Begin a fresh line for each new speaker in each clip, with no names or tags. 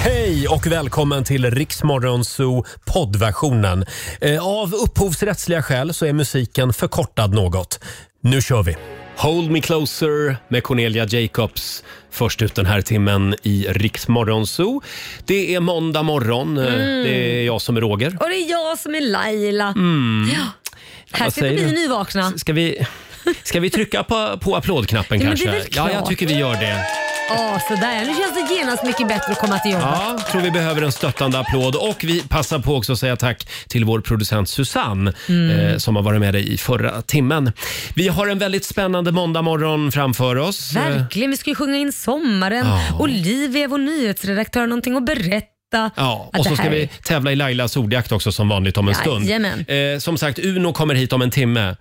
Hej och välkommen till Riksmorgonzoo poddversionen. Eh, Av upphovsrättsliga skäl så är musiken förkortad något. Nu kör vi! Hold Me Closer med Cornelia Jacobs. Först ut den här timmen i Riksmorgonzoo. Det är måndag morgon. Eh,
Mm.
Det är jag som är Roger.
Och det är jag som är Laila. Ja. Här
vad
sitter
säger
vi
du?
nyvakna.
Ska vi, ska vi trycka på, på applådknappen
Ja, men det är
kanske?
väl
Ja, jag
klart.
tycker vi gör det.
Ja, sådär. Nu känns det genast mycket bättre att komma till jobbet.
Ja, tror vi behöver en stöttande applåd. Och vi passar på också att säga tack till vår producent Susanne
Mm.
eh, som har varit med dig i förra timmen. Vi har en väldigt spännande måndagmorgon framför oss. Eh,
Verkligen. Vi ska ju sjunga in sommaren.
Ja.
Olivia, vår nyhetsredaktör, har någonting att berätta.
Ja,
Att
och så
det
ska
här
vi
är-
tävla i Lailas ordjakt också som vanligt om en stund.
Jajamän. Mm.
Eh, som sagt, Uno kommer hit om en timme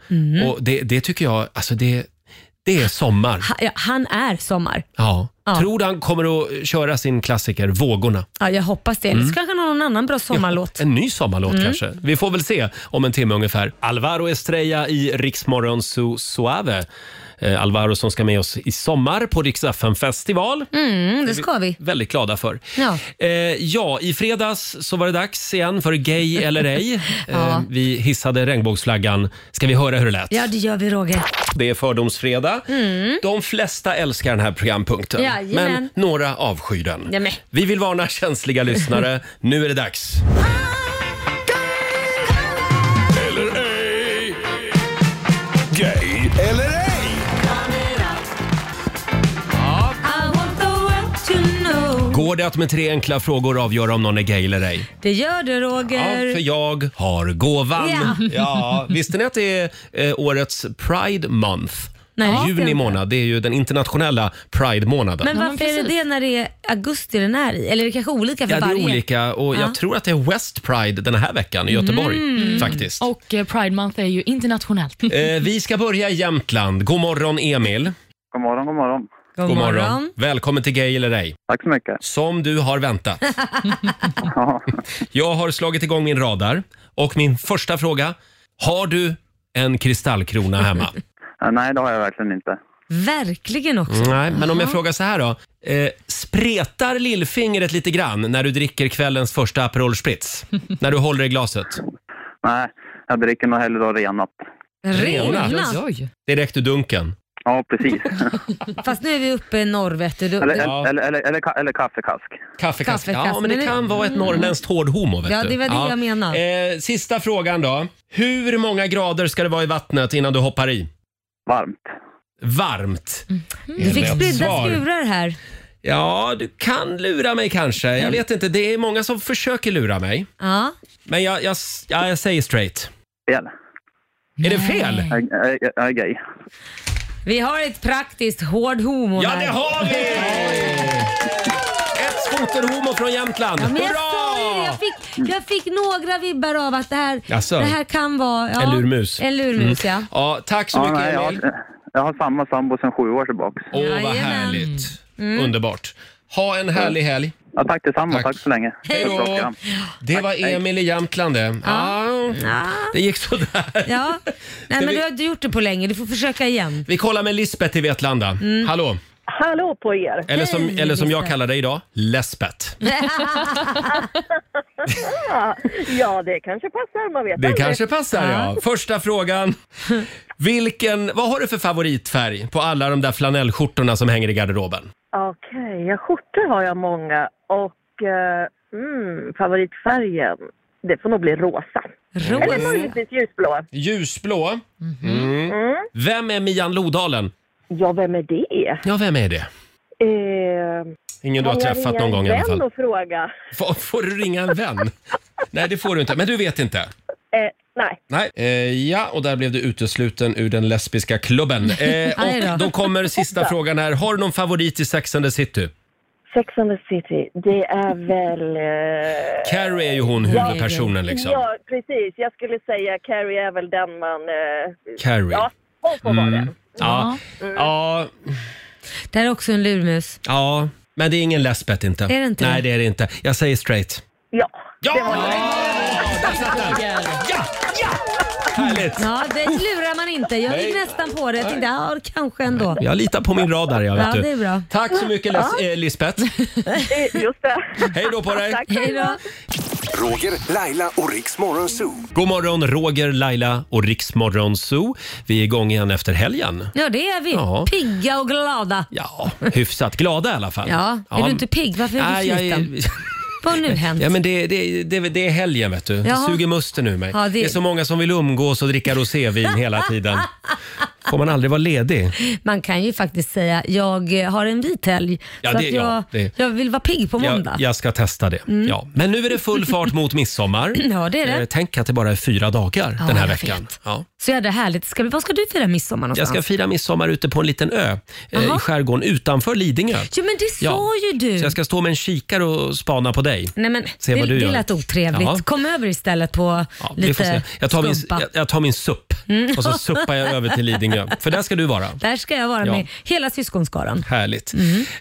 och det, det tycker jag, alltså det, det är sommar.
Ha- ja, Han är sommar.
Ja.
Ja.
Tror du han kommer att köra sin klassiker Vågorna?
Ja, jag hoppas det. Eller
Mm.
så kanske han har någon annan bra sommarlåt.
En ny sommarlåt
Mm.
kanske. Vi får väl se om en timme ungefär. Alvaro Estrella i Riksmorgon Su Suave. Eh, Alvaro som ska med oss i sommar på Rix FM festival.
Mm, det ska vi.
Väldigt glada för.
Ja.
Eh, ja, i fredags så var det dags igen för Gay eller ej. eh,
Ja.
vi hissade regnbågsflaggan. Ska vi höra hur det lät?
Ja, det gör vi Roger.
Det är fördomsfredag. De flesta älskar den här programpunkten,
Mm. Jajamän.
men några avskyr den.
Jamen.
Vi vill varna känsliga lyssnare. Nu är det dags.
eller ej? Gay eller ej?
Går det att med tre enkla frågor avgöra om någon är gay eller ej?
Det gör det
Ja,
Roger.
för jag har gåvan.
Ja.
Ja, visste ni att det är eh, årets Pride Month?
Nej.
Juni månad, det är ju den internationella Pride-månaden.
Men
Ja, men
varför är det
precis.
det när det är augusti den är i? Eller är det kanske olika för
Ja, det är
varje?
olika och jag
Ja. Mm.
tror att det är West Pride den här veckan i Göteborg faktiskt.
Och eh, Pride Month är ju internationellt.
Eh, vi ska börja i Jämtland. God morgon Emil.
God morgon, god morgon.
God, morgon.
Välkommen till Gay eller ej.
Tack så mycket.
Som du har väntat.
Ja,
Jag har slagit igång min radar och min första fråga. Har du en kristallkrona hemma?
nej, det har jag verkligen inte.
Verkligen också.
Nej, men om jag frågar så här då. Eh, spretar lillfingret lite grann när du dricker kvällens första Aperol Spritz? när du håller i glaset?
Nej, jag dricker nog hellre då renat.
Rena.
Rena.
Oj.
Direkt ur dunken.
Ja, precis.
Fast nu är vi uppe i norr vet du.
Eller,
Du-
Ja.
eller, eller, eller, ka- eller kaffekask.
Kaffekask.
Kaffekask,
Ja, men det
men det- Mm.
kan vara ett norrländskt hårdhomo. Vet
Ja,
du.
det var det jag menar.
Eh, sista frågan då. Hur många grader ska det vara i vattnet innan du hoppar i?
Varmt.
Varmt.
Mm.
Mm.
Du fick
Rätt
spridda
svar.
skurar här.
Ja, du kan lura mig kanske.
Mm.
Jag vet inte. Det är många som försöker lura mig.
Ja.
Men jag, jag, ja, jag säger straight.
Fel.
Är det fel?
Jag, jag, jag, jag är gay.
Vi har ett praktiskt hård homo
Ja,
här.
det har vi! Ett skoterhomo från Jämtland.
Men jag sa ju det.
Hurra!
Jag fick, jag fick några vibbar av att det här,
Jaså?
det här kan vara... Ja,
En lurmus. Mm.
En lurmus, ja.
Ja, tack så
Ja,
mycket
nej, jag,
Emil.
har, jag har samma sambo sedan sju år tillbaks.
Åh, vad
Jajamän. Mm.
härligt. Underbart. Ha en härlig helg.
Ja, tack detsamma.
Tack.
Tack. så länge.
Hej då.
Det är bra program.
Det var
hej.
Emil i Jämtland det. Ja,
Ja.
det gick sådär.
ja. Nej, men
vi-
du har inte gjort det på länge. Du får försöka igen.
Vi kollar med Lisbeth i Vetlanda. Hallå!
Hallå på er!
Eller som,
Hej,
eller som jag
Lisbeth.
kallar dig idag, Lesbeth.
Ja, det kanske passar, man vet
Det
aldrig.
kanske passar ja. Första frågan. Vilken, vad har du för favoritfärg på alla de där flanellskjortorna som hänger i garderoben?
Okej, ja, skjortor har jag många och eh, mm, favoritfärgen, det får nog bli rosa.
Mm.
Eller
Rosa.
möjligtvis ljusblå.
Ljusblå. Mm. Vem är Mian Lodalen?
Ja, vem är det?
Ja, vem är det?
Eh,
Ingen du har
kan jag
träffat
ringa
någon gång i
en
alla
vän
fall.
och fråga?
Får, får du ringa en vän? Nej, det får du inte. Men du vet inte?
Eh, nej,
Nej. Eh, ja, och där blev du utesluten ur den lesbiska klubben. Eh,
Aj då.
och då kommer sista frågan här. Har du någon favorit i Sex and the City?
Sex and the City, det är väl... Eh,
Carrie är ju hon huvudpersonen liksom.
Ja, precis. Jag skulle säga Carrie är väl den man... Eh,
Carrie.
ja, hon får vara
Mm.
den.
Ja. ja,
Det här är också en lurmus.
ja. Men det är ingen lesbet inte.
Är det inte
Nej,
det?
det är det inte. Jag säger straight.
Ja.
Ja!
Det var det.
Där satt den! Ja! Ja! Härligt!
Ja, det lurar man inte. Jag gick
Nej.
nästan på det. Jag tänkte, ja, kanske ändå.
Jag litar på min radar, jag vet
Ja,
du.
det är bra.
Tack så mycket Les- eh, Lisbeth.
Eh, Just det.
Hej då på dig!
Tack.
Hej då.
Roger, Laila och Riks Morgonzoo.
God morgon Roger, Laila och Riksmorgon Zoo. Vi är igång igen efter helgen.
Ja, det är vi.
Ja.
Pigga och glada.
Ja, hyfsat glada i alla fall.
Ja, är du inte pigg? Varför är du
Nej, jag
sliten?
är-
Vad har nu hänt?
Ja, men det, det, det, det är helgen, vet du. Det
Jaha.
suger musten ur mig.
Ja,
det...
det-
är så många som vill umgås och dricka rosévin hela tiden. Får man aldrig vara ledig?
Man kan ju faktiskt säga, jag eh, har en vit helg.
Ja,
så
det-
att
ja,
jag,
det-
jag vill vara pigg på måndag. Mm.
Jag, jag ska testa det. Ja. Men nu är det full fart mot midsommar.
Ja, det är det.
Eh, Tänk att det bara är fyra dagar
Ja,
den här
jag
veckan.
vet.
Ja.
Så jädra härligt. Ska, vi- vad ska du fira midsommar
Jag
någonstans?
ska fira midsommar ute på en liten ö eh,
Jaha.
i skärgården utanför Lidingö.
Jo men det sa
Ja.
ju du.
Så jag ska stå med en kikare och spana på dig.
Nej men
Se
det,
vad du
det
gör.
lät otrevligt.
Ja.
Kom över istället på
Ja, vi får se.
lite
Jag tar, min,
skumpa. Mm.
jag, jag tar min supp och så suppar jag över till Lidingö. För där ska du vara.
Där ska jag vara
Ja.
med hela syskonskaran.
Härligt.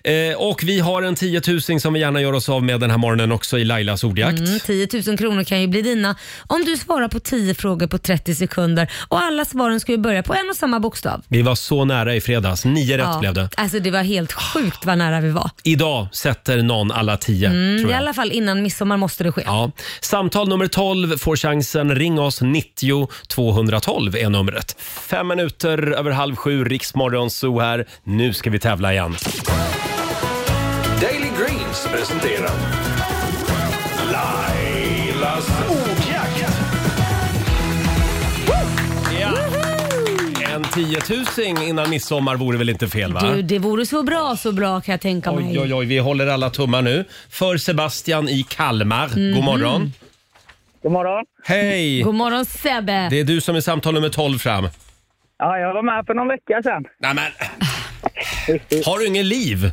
Mm.
Eh, och vi har en tiotusing som vi gärna gör oss av med den här morgonen också i Lailas ordjakt.
Mm, 10 000 kronor kan ju bli dina om du svarar på 10 frågor på 30 sekunder och alla svaren ska ju börja på en och samma bokstav.
Vi var så nära i fredags. Nio rätt blev det.
Alltså det var helt sjukt vad nära vi var.
Idag sätter någon alla tio, tror
I
jag.
Mm, alla fall innan midsommar måste det ske.
Ja. Samtal nummer 12 får chansen. Ring oss. 90 212 är numret. Fem minuter över halv sju, Riksmorgon Zoo här. Nu ska vi tävla igen.
Daily Greens presenterar Lailas ordjakt.
En tiotusing innan midsommar vore väl inte fel? va?
Du, det vore så bra, så bra kan jag tänka mig.
Oj, oj, oj, vi håller alla tummar nu. För Sebastian i Kalmar. God morgon.
God morgon.
Hej!
Mhm. God morgon Sebbe!
Det är du som är samtal nummer 12 fram.
Ja, jag var med för någon vecka sedan.
Nej, men. Har du inget liv?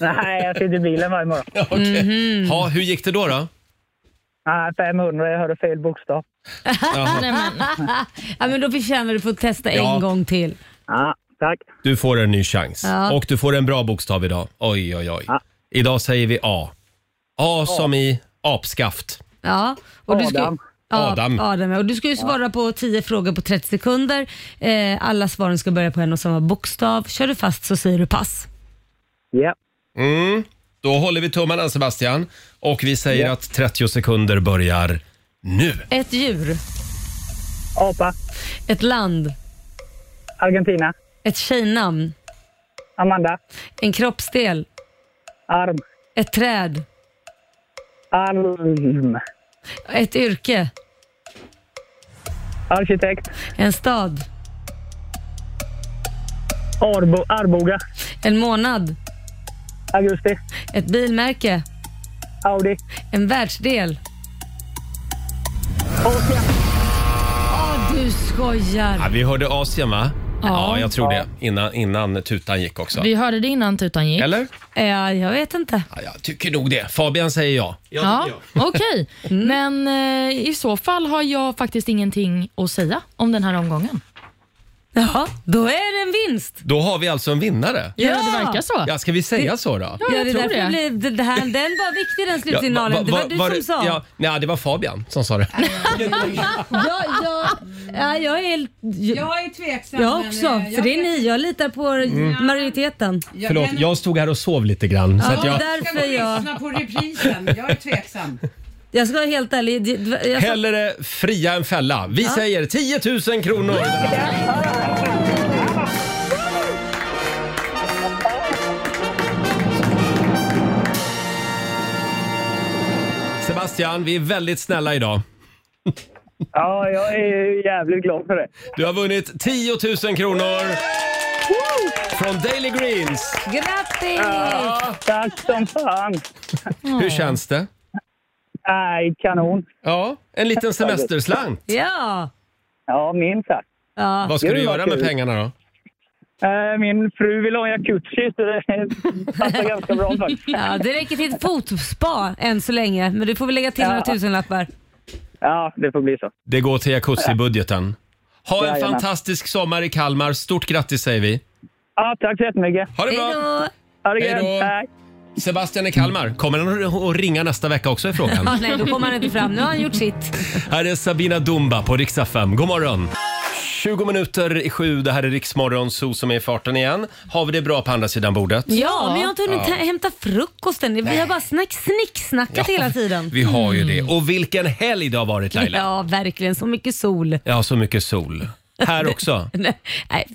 Nej, jag sitter i bilen varje morgon.
Okej.
Mm.
Ha, hur gick det då? då?
Nej, 500, jag hörde fel bokstav.
Nej, men,
Ja, men då förtjänar du att få testa
Ja.
en gång till.
Ja, tack.
Du får en ny chans.
Ja.
Och du får en bra bokstav idag. Oj, oj, oj. Idag säger vi A. A som i apskaft.
Ja, och du
Adam.
Ja,
Adam.
Adam. ja. Och du ska ju svara på 10 frågor på 30 sekunder. Eh, alla svaren ska börja på en och samma bokstav. Kör du fast så säger du pass.
Ja,
Då håller vi tummarna, Sebastian. Och vi säger att 30 sekunder börjar nu.
Ett djur,
apa,
ett land,
Argentina,
ett tjejnamn,
Amanda,
en kroppsdel,
arm,
ett träd,
arm,
ett yrke,
arkitekt,
en stad,
Arbo, Arboga,
en månad,
augusti,
ett bilmärke,
Audi.
en världsdel.
Åka.
Åh, du
Ja,
skojar!
vi hörde Asien, va?
Ja.
jag tror det. Innan, innan tutan gick också.
vi hörde det innan tutan gick.
Eller?
Ja, jag vet inte.
Ja, jag tycker nog det. Fabian säger ja.
Ja, okej.
Mm.
Men eh, i så fall har jag faktiskt ingenting att säga om den här omgången.
Ja, då är det en vinst.
Då har vi alltså en vinnare.
Ja, det verkar så.
Ja, ska vi säga så då?
Ja, jag
det
tror
därför
det.
blev det- det här, den var viktig den
Ja,
slutsignalen.
va- va-
det var du som
det-
sa.
Ja, nej, det var Fabian som sa det.
Ja, ja, ja, jag är helt... Jag,
Jag är tveksam.
jag
men,
också,
eh,
för det är
kan-
ni. Jag litar på
Mm.
majoriteten.
jag-
Förlåt,
jag-
jag stod här och sov lite grann. Så
Ja,
att jag...
där-
Jag ska
Därför
gå
jag-
och lyssna på reprisen. Jag är tveksam.
Jag ska vara helt ärlig. det- det- Jag, sa-
Hellre fria än fälla. Vi säger 10 000 kronor! Sebastian, vi är väldigt snälla idag.
Ja, jag är jävligt glad för det.
Du har vunnit 10 000 kronor från Daily Greens.
grattis!
Tack som fan.
Hur känns det?
Nej, kanon.
Ja, en liten semesterslang.
Ja!
Ja, minst sagt.
ja.
Vad ska
Gud,
du
vad
göra med
kul.
pengarna då?
Eh, Min fru vill ha en jacuzzi så det passar ganska bra faktiskt.
Ja, det räcker till ett fotspa än så länge, men du får väl lägga till några tusenlappar.
Ja, det får bli så.
Det går till jacuzzi-budgeten. Ha en
Jajamän.
fantastisk sommar i Kalmar. Stort grattis säger vi.
Ja, tack så jättemycket.
Ha det
Hej
bra!
då!
Ha det
Hej då.
gött. Hej.
Sebastian i Kalmar, kommer han att ringa nästa vecka också i frågan?
Ja, nej, då kommer han inte fram. Nu har han gjort sitt.
Här är Sabina Dumba på riksdag 5. God morgon! 20 minuter i sju, det här är Riksmorgon, Zoo som är i farten igen. Har vi det bra på andra sidan bordet?
Ja, men jag har inte hunnit ta- hämta frukosten. Vi har bara snack, snicksnackat hela tiden.
Vi har ju det. Och vilken helg det har varit Laila! Ja,
Ja, verkligen. Så mycket sol.
så mycket sol. Här också.
Nej,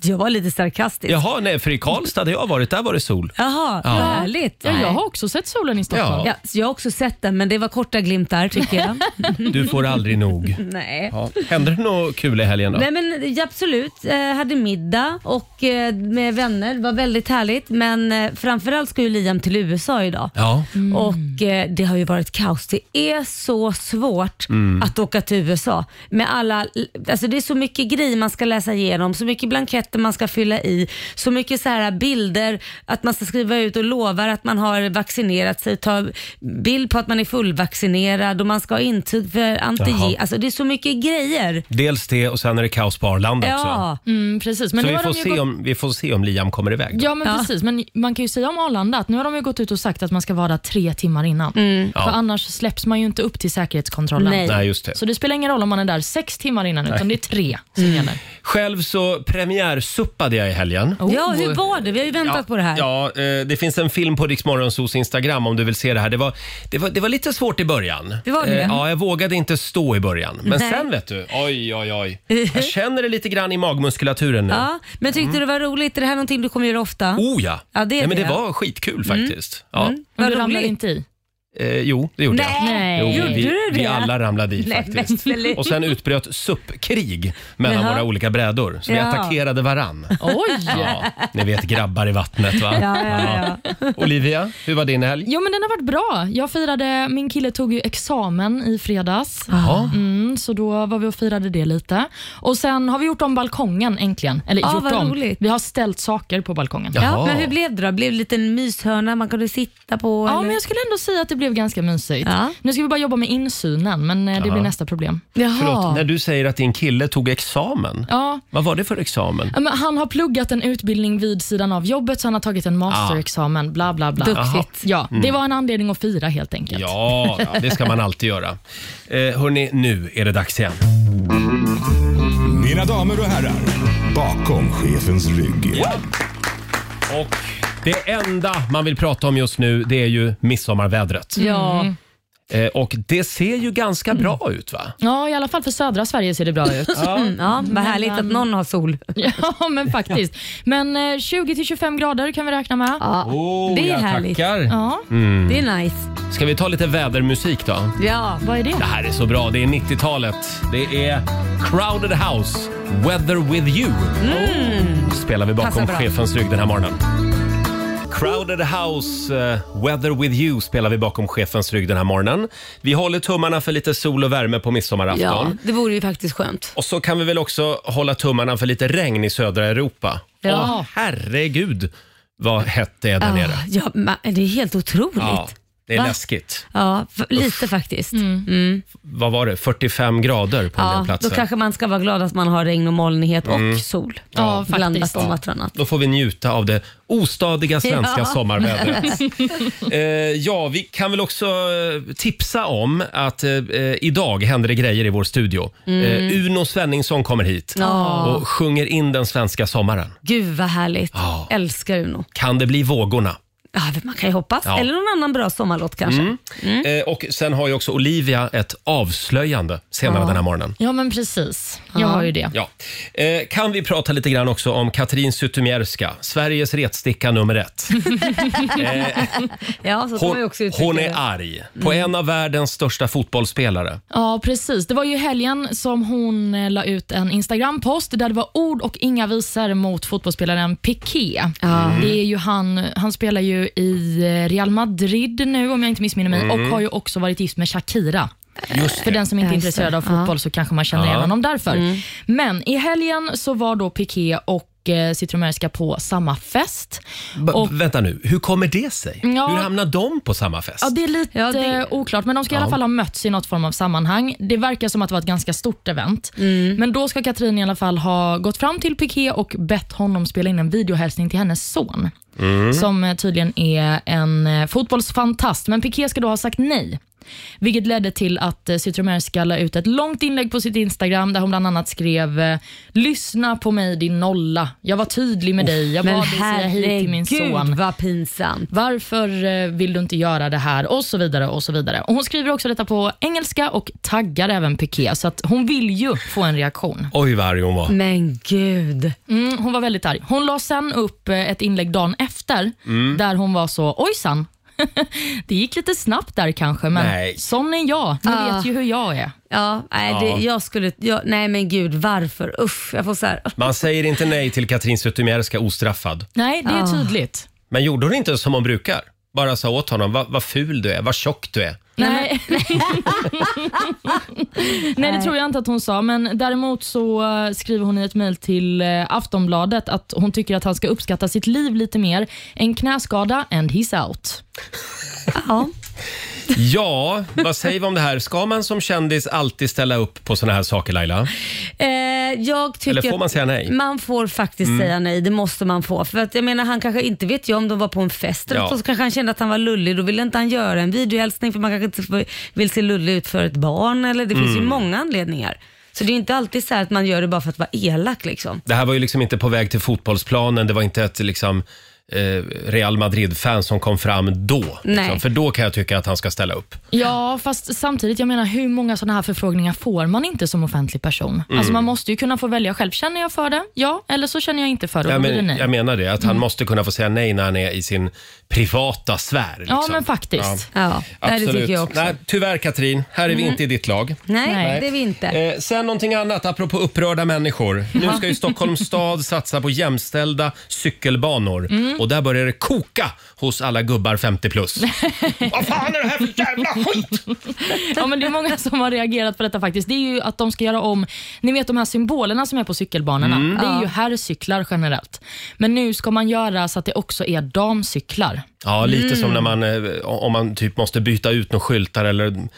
jag var lite sarkastisk.
Jaha, nej, för i Karlstad där jag har varit, där var det sol.
Jaha, vad härligt.
Ja, jag
Nej.
har också sett solen i Stockholm.
Ja.
Ja, så jag har också sett den, men det var korta glimtar tycker jag.
Du får aldrig nog.
Nej.
Ja. Hände det något kul i helgen då?
Nej men ja, absolut, eh, hade middag och eh, med vänner, det var väldigt härligt. Men eh, framförallt ska ju Liam till USA idag.
Ja.
Och eh, det har ju varit kaos. Det är så svårt
Mm.
att åka till USA. Med alla, alltså det är så mycket grejer man ska läsa igenom, så mycket blanketter man ska fylla i, så mycket så här bilder, att man ska skriva ut och lovar att man har vaccinerat sig, ta bild på att man är fullvaccinerad och man ska ha intyg för
Jaha.
antigen. Alltså det är så mycket grejer.
Dels det och sen är det kaos på Arlanda också.
Ja,
Mm, precis. Men
Så
nu
vi
har
får,
de ju
se
gått...
om, vi får se om Liam kommer iväg. då.
Ja, men precis. Men man kan ju säga om Arlanda att nu har de ju gått ut och sagt att man ska vara där tre timmar innan. För
Ja.
annars släpps man ju inte upp till säkerhetskontrollen.
Mm. Nej.
Nej, just det.
Så det spelar ingen roll om man är där sex timmar innan, utan det är tre som
Mm.
gäller.
Själv så premiärsuppade jag i helgen.
ja
Oh.
hur var det? Vi har ju väntat på det här.
Ja, eh, det finns en film på Rix Morgonzos Instagram om du vill se det här. Det var, det var, det var lite svårt i början.
Det var det.
Eh, Ja, jag vågade inte stå i början. Men
Nej.
sen vet du, oj, oj, oj. Jag känner det lite grann i magmuskulaturen nu.
Ja, men tyckte du det var roligt? Är det här någonting du kommer göra ofta?
Mm. Oh ja!
Ja, det Mm. är
Nej, men det
det. Mm.
var skitkul faktiskt. Ja.
Men
Vad
du ramlar
roligt.
inte i.
Eh, jo, det gjorde
Nej.
jag.
Nej.
Jo,
Gjorde
vi,
du det?
vi alla ramlade i
Nej,
faktiskt.
men förlåt.
Och sen utbröt suppkrig mellan
Jaha.
våra olika brädor. Så vi
Ja.
attackerade varann.
Oj!
Ja, ni vet grabbar i vattnet va?
Ja, ja,
Ja. Olivia, hur var din helg?
Jo men den har varit bra. Jag firade, min kille tog ju examen i fredags.
Ja.
Mm, så då var vi och firade det lite. Och sen har vi gjort om balkongen äntligen. Eller
Ah,
gjort
vad
om.
roligt.
Vi har ställt saker på balkongen.
Ja.
Ja,
Jaha.
Ja, men hur blev det då? Blev det en liten myshörna man kunde sitta på? eller?
men jag skulle ändå säga att det blev ganska mysigt.
Ja.
Nu ska vi bara jobba med insynen, men eh, det
Ja.
blir nästa problem.
Jaha.
Förlåt, när du säger att din kille tog examen,
Ja,
vad var det för examen?
men han har pluggat en utbildning vid sidan av jobbet, så han har tagit en masterexamen. Bla, bla, bla.
Duktigt.
Ja, Det var en anledning att fira helt enkelt.
Ja, det ska man alltid göra. Eh, hörni, nu är det dags igen.
Mina damer och herrar, bakom chefens rygg.
Och det enda man vill prata om just nu, det är ju midsommarvädret.
Mm.
Ja.
Eh, och det ser ju ganska bra ut va?
Ja, i alla fall för södra Sverige ser det bra ut.
Mm, ja, vad härligt att någon har sol.
ja, men faktiskt. Men eh, 20-25 grader kan vi räkna med.
Ja, det är härligt.
tackar.
Ja,
Det är nice.
Ska vi ta lite vädermusik då?
Ja.
vad är det?
Det här är så bra, det är 90-talet. Det är Crowded House, Weather With You. Spelar vi bakom
Mm. Passar bra.
chefens rygg den här morgonen. Crowded House, eh, Weather With You spelar vi bakom chefens rygg den här morgonen. Vi håller tummarna för lite sol och värme på midsommarafton.
ja, det vore ju faktiskt skönt.
Och så kan vi väl också hålla tummarna för lite regn i södra Europa.
Ja.
Åh, herregud vad hett det är där nere.
Ja, Ah, ja, ma- det är helt otroligt.
Ja,
Ja,
det är
Va?
läskigt.
f- lite faktiskt. Mm.
Vad var det? 45 grader på den
Ja,
platsen. Mm.
då kanske man ska vara glad att man har regn och molnighet och sol.
Ja,
Blandat
faktiskt.
om vartannat.
Då får vi njuta av det ostadiga svenska
Ja.
sommarvädret. eh, ja, vi kan väl också eh, tipsa om att eh, eh, idag händer det grejer i vår studio.
Mm.
Eh, Uno Svenningsson kommer hit och sjunger in den svenska sommaren.
Gud vad härligt.
Ja.
Älskar Uno.
Kan det bli vågorna?
Ja, man kan ju hoppas.
Ja.
Eller någon annan bra sommarlåt kanske. Mm.
Eh, och sen har ju också Olivia ett avslöjande senare den här morgonen.
Ja, men precis. Jag har ju det.
Ja. Eh, kan vi prata lite grann också om Katrin Zytomierska, Sveriges retsticka nummer ett.
Ja, så kan man ju
Hon,
också uttrycka
hon är
det. Mm.
arg på en av världens största fotbollsspelare.
Ja, precis. Det var ju i helgen som hon eh, la ut en Instagram-post där det var ord och inga visor mot fotbollsspelaren Piqué. Mm. Det är ju
Mm.
han, han spelar ju i eh, Real Madrid nu, om jag inte missminner mig, och har ju också varit gift med Shakira. För den som
Mm. Just det.
inte är
Mm.
intresserad av fotboll så kanske man känner igen honom därför. Men i helgen så var då Piqué och eh, Citromerska på samma fest.
B-
Och-
vänta nu, hur kommer det sig?
Ja.
Hur hamnar de på samma fest?
Ja, det är lite
Ja, det-
eh, oklart, men de ska i alla fall ha mötts i något form av sammanhang. Det verkar som att det var ett ganska stort event.
Mm.
Men då ska Katrin i alla fall ha gått fram till Piqué och bett honom spela in en videohälsning till hennes son.
Mm.
som eh, tydligen är en eh, fotbollsfantast. Men Piqué ska då ha sagt nej. Vilket ledde till att eh, Zytomierska la ut ett långt inlägg på sitt Instagram där hon bland annat skrev eh, “Lyssna på mig din nolla, jag var tydlig med dig, jag
Oh, Men
bad dig säga hej till min son”.
herregud vad pinsamt.
Varför eh, vill du inte göra det här? Och så vidare. och så vidare. Och hon skriver också detta på engelska och taggar även Piqué, så att hon vill ju få en reaktion.
Oj vad arg hon var.
Men gud.
Mm, hon var väldigt arg. Hon la sen upp eh, ett inlägg dagen efter där hon var så, ojsan, det gick lite snabbt där kanske, men
Nej.
sån är jag. Ni
Ah.
vet ju hur jag är.
Ja, nej, Det, jag skulle, jag, nej men gud varför? Usch, jag får så här.
Man säger inte nej till Katrin Zytomierska ostraffad.
Nej, det är tydligt.
Men gjorde hon inte som hon brukar? Bara sa åt honom, vad vad ful du är, vad tjock du är.
Nej. Nej, det tror jag inte att hon sa, men däremot så eh, skriver hon i ett mejl till eh, Aftonbladet att hon tycker att han ska uppskatta sitt liv lite mer. En knäskada and he's out.
Ja.
Ja, vad säger vi om det här? Ska man som kändis alltid ställa upp på såna här saker Laila?
Eh, jag tycker
Eller får man
att
säga nej? Mm.
Man får faktiskt säga nej, det måste man få. För att jag menar han kanske inte vet jag om de var på en fest eller
Ja.
något, och så kanske han kände att han var lullig, då ville inte han göra en videohälsning för man kanske inte får- vill se lullig ut för ett barn eller det
Mm.
finns ju många anledningar. Så det är inte alltid så här att man gör det bara för att vara elak liksom.
Det här var ju liksom inte på väg till fotbollsplanen, det var inte ett liksom eh, Real Madrid-fan som kom fram då. Liksom.
Nej.
För då kan jag tycka att han ska ställa upp.
Ja, fast samtidigt, jag menar hur många sådana här förfrågningar får man inte som offentlig person?
Mm.
Alltså man måste ju kunna få välja själv. Känner jag för det? Ja, eller så känner jag inte för det. och
Jag,
då blir det
men,
nej.
jag menar det, att
Mm.
han måste kunna få säga nej när han är i sin privata sfär. Liksom.
ja, men faktiskt.
Ja, nej, det
Absolut.
tycker jag också. Mm.
Nej, tyvärr Katrin, här är vi inte i ditt lag.
Nej,
Nej.
det är vi inte.
Eh, sen någonting annat apropå upprörda människor. Nu ska ju Stockholms stad satsa på jämställda cykelbanor.
Mm.
Och där börjar det koka hos alla gubbar 50 plus. Vad fan är det här för jävla skit?
Ja, men det är många som har reagerat på detta faktiskt. Det är ju att de ska göra om, ni vet de här symbolerna som är på cykelbanorna. Det är ju herrcyklar generellt. Men nu ska man göra så att det också är damcyklar.
Ja, lite
Mm.
som när man, eh, om man typ måste byta ut några skyltar eller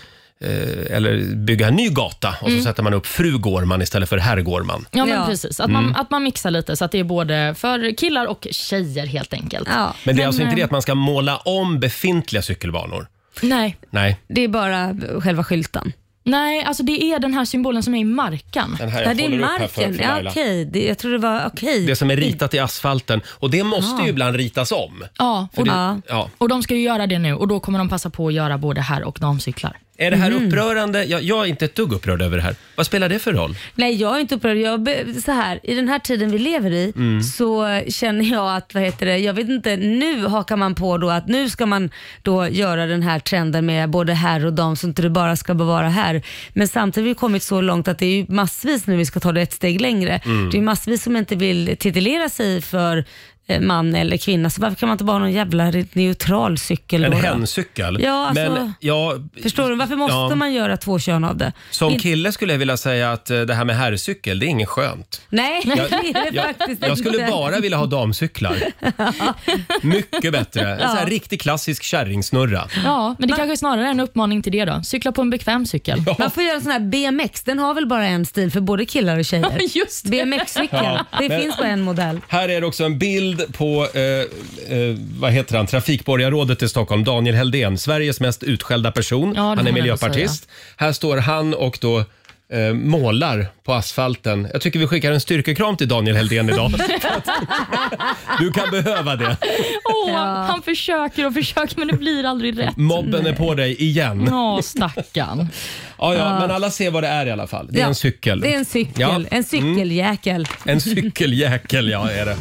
eh, eller bygga en ny gata och så
Mm.
sätter man upp fru Gårman istället för herr Gårman.
Ja, men
Ja.
precis. Att man, att man mixar lite så att det är både för killar och tjejer helt enkelt.
Ja,
Men det är alltså inte
eh,
det att man ska måla om befintliga cykelbanor.
Nej.
Nej,
det är bara själva skylten.
Nej, alltså det är den här symbolen som är i marken.
den här
Ja,
jag
det är
håller upp här för,
marken.
för
ja,
Laila.
okej. Det- Jag tror det var okej.
Det som är ritat i asfalten. Och det måste ju ibland ritas om.
Ja, och,
Ja.
Ja.
och de ska ju göra det nu och då kommer de passa på att göra både här och damcyklar.
Är det här
Mm.
upprörande? Jag, jag är inte ett dugg upprörd över det här. Vad spelar det för roll?
Nej, jag är inte upprörd. Jag, be- så här, I den här tiden vi lever i
Mm.
så känner jag att, vad heter det, jag vet inte, nu hakar man på då att nu ska man då göra den här trenden med både herr och dam så inte det bara ska vara här. Men samtidigt har vi kommit så långt att det är ju massvis nu vi ska ta det ett steg längre.
Mm.
Det är ju massvis som inte vill titulera sig för eh, man eller kvinna, så varför kan man inte bara ha någon jävla neutral cykel?
En
då då?
häncykel?
Ja, alltså-
Men, ja,
Förstår du? Varför måste
Ja.
man göra två kön av det?
Som kille skulle jag vilja säga att eh, det här med herrcykel, det är inget skönt.
Nej, det är det
Jag,
faktiskt
jag skulle
inte.
bara vilja ha damcyklar. Mycket bättre. En sån här riktig klassisk kärringsnurra.
Ja, men det kanske snarare är en uppmaning till det då. Cykla på en bekväm cykel.
Man får göra en sån här BMX, den har väl bara en stil för både killar och tjejer?
Just det.
BMX-cykeln,
Ja,
det
men-
finns bara en modell.
Här är det också en bild på, eh, eh, vad heter han, trafikborgarrådet i Stockholm, Daniel Heldén, Sveriges mest utskällda person.
det får
han
man
är
ändå
miljöpartist. Här står han och då eh, målar på asfalten. Jag tycker vi skickar en styrkekram till Daniel Heldén idag. För att- du kan behöva det.
Åh, han försöker och försöker men det blir aldrig rätt.
Mobben är på dig igen.
Ja, stackarn.
Ja, ja, men alla ser vad det är i alla fall. Det är
Ja,
en cykel.
Det är en cykel,
Ja. Mm.
en cykeljäkel.
En cykeljäkel, ja är det.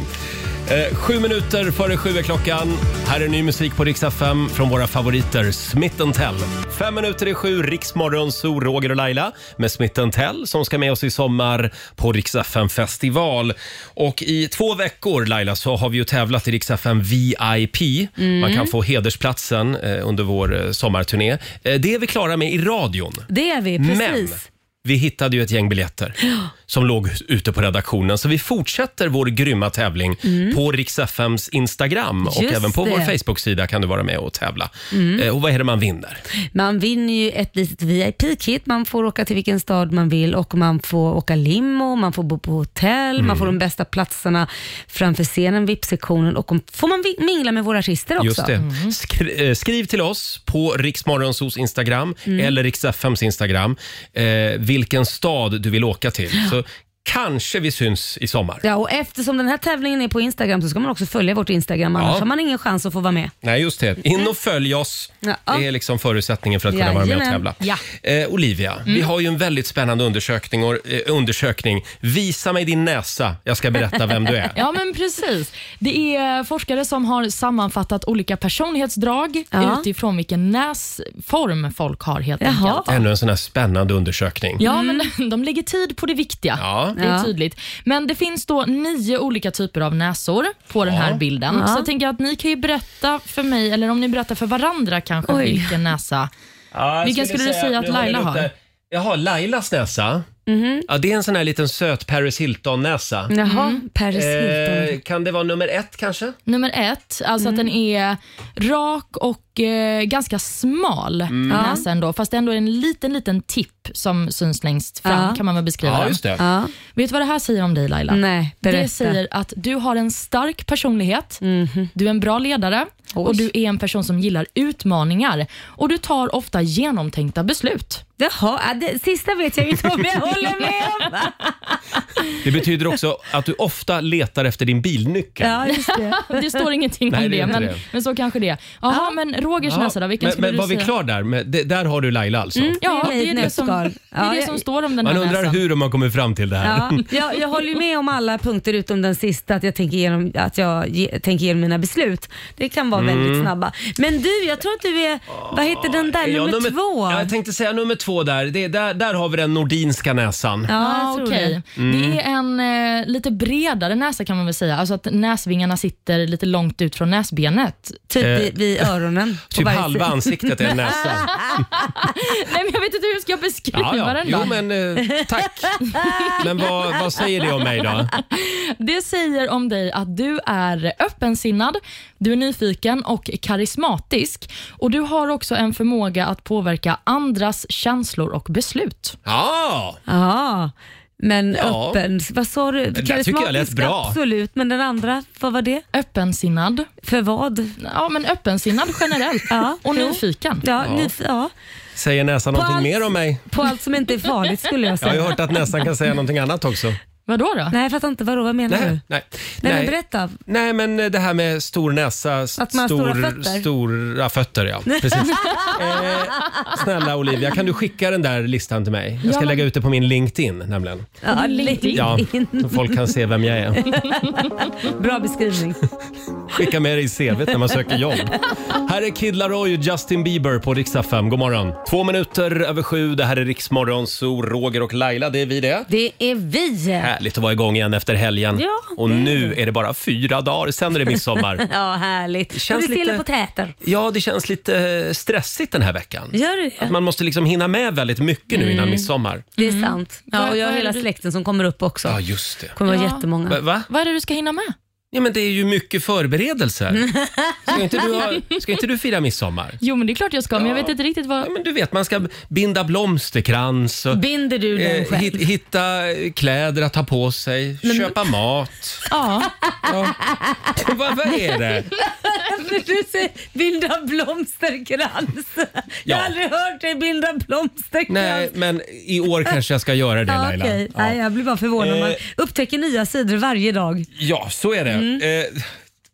Eh, sju minuter före sju är klockan. Här är ny musik på Rix FM från våra favoriter Smith Tell. Fem minuter i sju, Riksmorgon, så Roger och Laila med Smith Tell som ska med oss i sommar på Rix FM festival. Och i två veckor Laila så har vi ju tävlat i Rix FM VIP. Man kan få hedersplatsen eh, under vår eh, sommarturné. Eh, det är vi klara med i radion.
Det är vi, precis.
Men vi hittade ju ett gäng biljetter. som låg ute på redaktionen. Så vi fortsätter vår grymma tävling på Rix FMs Instagram och
Mm. Just
även på vår
det. Mm.
Facebook-sida kan du vara med och tävla. Eh, Och vad är det man vinner?
Man vinner ju ett litet VIP-kit, man får åka till vilken stad man vill och man får åka limo, man får bo på hotell, man
Mm.
får de bästa platserna framför scenen, VIP-sektionen och om- får man vi- mingla med våra artister också.
Just det.
Mm.
Skri- eh, skriv till oss på Riksmorgonsos Instagram
Mm.
eller Riks-FMs Instagram eh, vilken stad du vill åka till. Så kanske vi syns i sommar.
Ja, och eftersom den här tävlingen är på Instagram så ska man också följa vårt Instagram, annars
Ja.
har man ingen chans att få vara med.
Nej, just det. In och följ oss.
Ja.
Det är liksom förutsättningen för att kunna vara med och tävla.
Jajamän.
Eh, Olivia,
Mm.
vi har ju en väldigt spännande undersökning, och, eh, undersökning. Visa mig din näsa, jag ska berätta vem du är.
Ja, men precis. Det är forskare som har sammanfattat olika personlighetsdrag
Ja.
utifrån vilken näsform folk har helt
Jaha.
enkelt.
Ännu en sån här spännande undersökning.
Ja, men de lägger tid på det viktiga.
Ja.
Det är
Ja.
tydligt. Men det finns då nio olika typer av näsor på den här bilden. Så jag tänker att ni kan ju berätta för mig, eller om ni berättar för varandra kanske,
Oj.
vilken näsa. Vilken skulle du säga att Laila har? Mm-hmm.
Jaha, Lailas näsa. Ja, det är en sån här liten söt Paris Hilton-näsa.
Mm,
Jaha, Paris Hilton.
Mm. Eh, kan det vara nummer ett kanske?
Nummer ett, alltså att den
Mm.
är rak och eh, ganska smal,
Mm.
näsan då. Fast det ändå är en liten, liten tipp som syns längst fram,
Ja.
kan man väl beskriva den.
det.
Ja,
Vet du vad det här säger om dig Laila?
nej, berätta.
Det säger att du har en stark personlighet, du är en bra ledare och
Mhm. Oj.
du är en person som gillar utmaningar. Och du tar ofta genomtänkta beslut.
Jaha, ja, det sista vet jag inte om jag håller med om.
Det betyder också att du ofta letar efter din bilnyckel.
Ja, just det.
Det står ingenting om
Nej, det är
det,
inte
men,
det.
men så kanske det är. Jaha, men Rogers näsa då? Vilken
men
skulle
men
du
var vi
säga?
klar där? Med, det, där har du Laila alltså.
Ja,
Det är
det är
ett
det som, det
nötskal.
är det
Ja,
som
jag-
står om den
Man
här
undrar
näsan.
hur de har kommit fram till det här.
Ja, jag, jag håller ju med om alla punkter utom den sista, att jag tänker igenom, att jag ge, tänker igenom mina beslut. Det kan vara
Mm.
väldigt snabba. Men du, jag tror att du är, vad heter den där,
Ja,
nummer, två?
Ja, jag tänkte säga nummer två där. Det, där. Där har vi den nordinska näsan.
ja,
Ah,
jag tror
okej.
Mm.
Det är en eh, lite bredare näsa kan man väl säga. Alltså att näsvingarna sitter lite långt ut från näsbenet.
det. Typ vid, vid öronen. på
Eh, Typ
varje
halva
sida.
ansiktet är en näsa.
Nej, men jag vet inte hur jag ska beskriva
Ja, ja.
den då.
Jo, men eh, tack. Men vad, vad säger det om mig då?
Det säger om dig att du är öppensinnad, du är nyfiken och karismatisk. Och Du har också en förmåga att påverka andras känslor och beslut.
Ja,
Ja, men
Ja.
öppen. Vad sa du?
där tycker jag lät
Karismatisk,
bra.
Absolut, men den andra, vad var det?
Öppensinnad.
För vad?
Ja, men öppensinnad generellt.
Ja,
Och
jo.
nyfiken.
Ja, ja. ja,
säger näsan någonting
allt-
mer om mig?
på allt som inte är farligt skulle jag
Jag har
säga.
ju hört att näsan kan säga någonting annat också.
Vadå då?
Nej, jag fattar inte. Vadå, vad menar du?
Nej,
Nej,
nej.
men
nej.
berätta.
Nej, men det här med stor näsa, s-
Att man har
stor,
stora fötter.
stora fötter. Ja. Precis. eh, snälla Olivia, kan du skicka den där listan till mig? Jag ska
Ja, men-
lägga ut det på min LinkedIn nämligen.
Ja,
LinkedIn.
Ja, så folk kan se vem jag är.
Bra beskrivning.
Skicka med det i CVt när man söker jobb. Här är Kid Laroi och Justin Bieber på riksdag 5. God morgon. Två minuter över sju. Det här är Riksmorgon, så Roger och Laila, det är vi det.
Det är vi.
Härligt att vara igång igen efter helgen.
Ja,
och
det är
nu är det bara fyra dagar, sen är det midsommar.
Ja, härligt.
känns
och det stilla
lite-
på täten.
Ja, det känns lite eh, stressigt den här veckan.
Gör det
Att
det?
man måste liksom hinna med väldigt mycket nu
Mm.
innan midsommar.
Det är sant. Ja, och jag har
Vad är
hela
det du-
släkten som kommer upp också.
Ja, just det.
kommer vara
Ja.
jättemånga.
Va- Va?
Vad är det du ska hinna med?
Ja, men det är ju mycket förberedelser. Ska inte du, ha, ska inte du fira midsommar?
Jo, men det är klart jag ska, men jag vet inte riktigt vad...
Ja, men du vet, man ska binda blomsterkrans och
Binder du den
eh,
själv?
hit, hitta eh, kläder att ha på sig, köpa mat.
Ja.
Vad vad är det?
du säger binda blomsterkrans. Jag har
Ja.
aldrig hört dig binda blomsterkrans.
Nej, men i år kanske jag ska göra det,
Ja,
Laila.
okej.
Ja.
Nej, jag blir bara förvånad. Man
Eh.
upptäcker nya sidor varje dag.
Ja, så är det.
Mm.
Eh,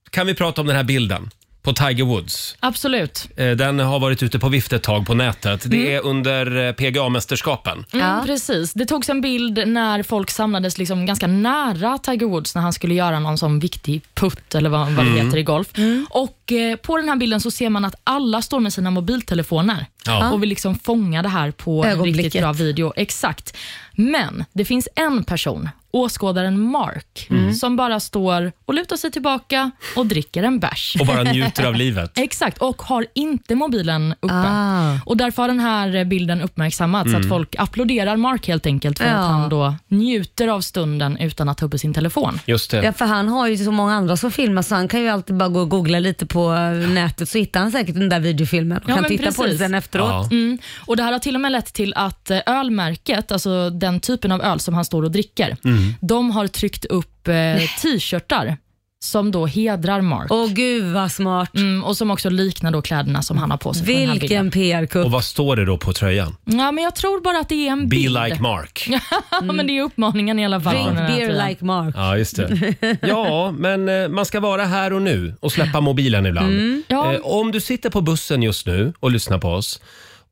kan vi prata om den här bilden på Tiger Woods?
Absolut.
Eh, den har varit ute på vift ett tag på nätet. Det är under eh, PGA-mästerskapen.
Mm, Precis. Det togs en bild när folk samlades liksom ganska nära Tiger Woods när han skulle göra någon sån viktig putt eller vad, vad det heter i golf. Och eh, På den här bilden så ser man att alla står med sina mobiltelefoner
Ja.
och vill liksom fånga det här på en
Ögonblicket.
riktigt bra video. Exakt. Men det finns en person åskådaren Mark som bara står och lutar sig tillbaka och dricker en bärs.
Och bara njuter av livet.
Exakt, och har inte mobilen uppe.
Ah.
Och Därför har den här bilden uppmärksammats,
Mm.
att folk applåderar Mark helt enkelt för
Ja.
att han då njuter av stunden utan att ta upp sin telefon.
Just det.
Ja, för han har ju så många andra som filmar så han kan ju alltid bara gå och googla lite på eh, nätet så hittar han säkert den där videofilmen och
Ja,
kan
men
titta på den
precis.
sen efteråt.
Ja.
Mm. Och Det här har till och med lett till att eh, ölmärket, alltså den typen av öl som han står och dricker,
Mm.
de har tryckt upp eh, t-shirtar som då hedrar Mark.
Åh gud vad smart.
Mm, och som också liknar då kläderna som han har på sig. på den här
Vilken
bilden.
Och
PR-kupp.
vad står det då på tröjan?
Ja, men jag tror bara att det är en
Be
bild.
like Mark.
Ja, men det är uppmaningen i alla fall.
Drink
från den här
beer
tiden.
like Mark.
Ja, just det. Ja, men eh, man ska vara här och nu och släppa mobilen ibland.
Ja.
Eh, Om du sitter på bussen just nu och lyssnar på oss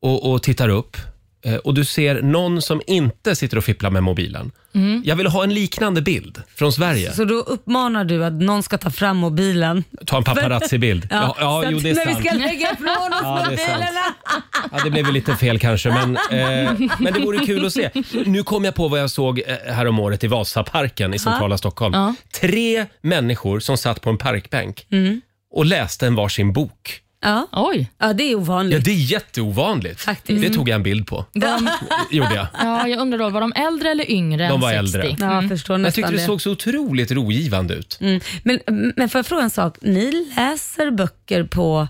och, och tittar upp eh, och du ser någon som inte sitter och fipplar med mobilen. Jag vill ha en liknande bild från Sverige.
Så då uppmanar du att någon ska ta fram mobilen.
Ta en paparazzi-bild. Ja, ja,
så
jo,
att
det är
när
sant.
vi ska lägga ifrån oss
Ja, det är sant.
mobilerna.
Ja, det blev väl lite fel kanske, men, eh, men det vore kul att se. Nu kom jag på vad jag såg eh, härom året i Vasaparken i centrala Stockholm.
Ja.
Tre människor som satt på en parkbänk
Mm.
och läste en varsin bok.
Ja.
Oj.
ja, det är
Ja,
ovanligt.
det är jätteovanligt.
Faktiskt.
Det tog jag en bild på. Gjorde jag.
Ja, jag undrar då, var de äldre eller yngre
De
än
var
60?
äldre.
Ja, jag förstår
Jag
nästan
tyckte det såg så otroligt rogivande ut.
Mm. Men, men får jag fråga en sak? Ni läser böcker på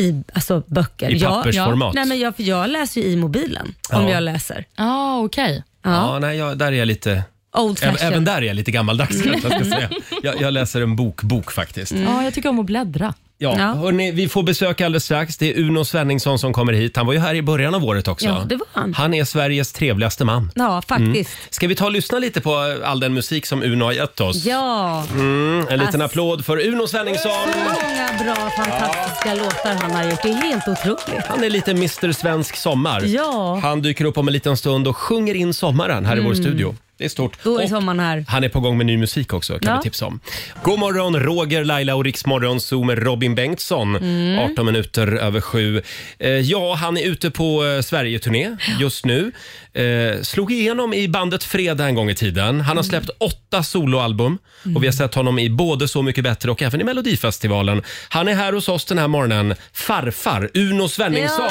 i, alltså böcker.
I
Jag-
pappersformat.
nej, men jag, för jag läser ju i mobilen om
Ja.
jag läser.
Ja, okej.
Ja,
Ja.
nej, jag, där är jag lite...
Old
Även,
fashioned.
även där är jag lite gammaldags kanske jag ska säga. Jag, jag läser en bokbok faktiskt.
Mm.
Ja, jag tycker om att bläddra.
Ja,
Ja.
Hörrni, vi får besök alldeles strax. Det är Uno Svenningsson som kommer hit. Han var ju här i början av året också.
Ja, det var han.
är Sveriges trevligaste man.
Ja, faktiskt.
Ska vi ta och lyssna lite på all den musik som Uno har gett oss?
Ja,
Mm, en liten
Ass-
applåd för Uno Svenningsson!
många bra fantastiska låtar han har gjort. Det är helt otroligt.
Han är lite Mr Svensk Sommar.
Ja. Mm.
Han dyker upp om en liten stund och sjunger in sommaren här i vår studio. Det är stort.
Då är
Och
sommaren här.
Han är på gång med ny musik också, kan
Ja.
vi tipsa om. God morgon, Roger, Laila och Riksmorgon Zoo med Robin Bengtsson. 18 minuter över sju. Eh, ja, han är ute på eh, Sverigeturné just nu. Eh, slog igenom i bandet Fredag en gång i tiden. Han har släppt åtta soloalbum och vi har sett honom i både Så mycket bättre och även i Melodifestivalen. Han är här hos oss den här morgonen. Farfar Uno Svenningsson!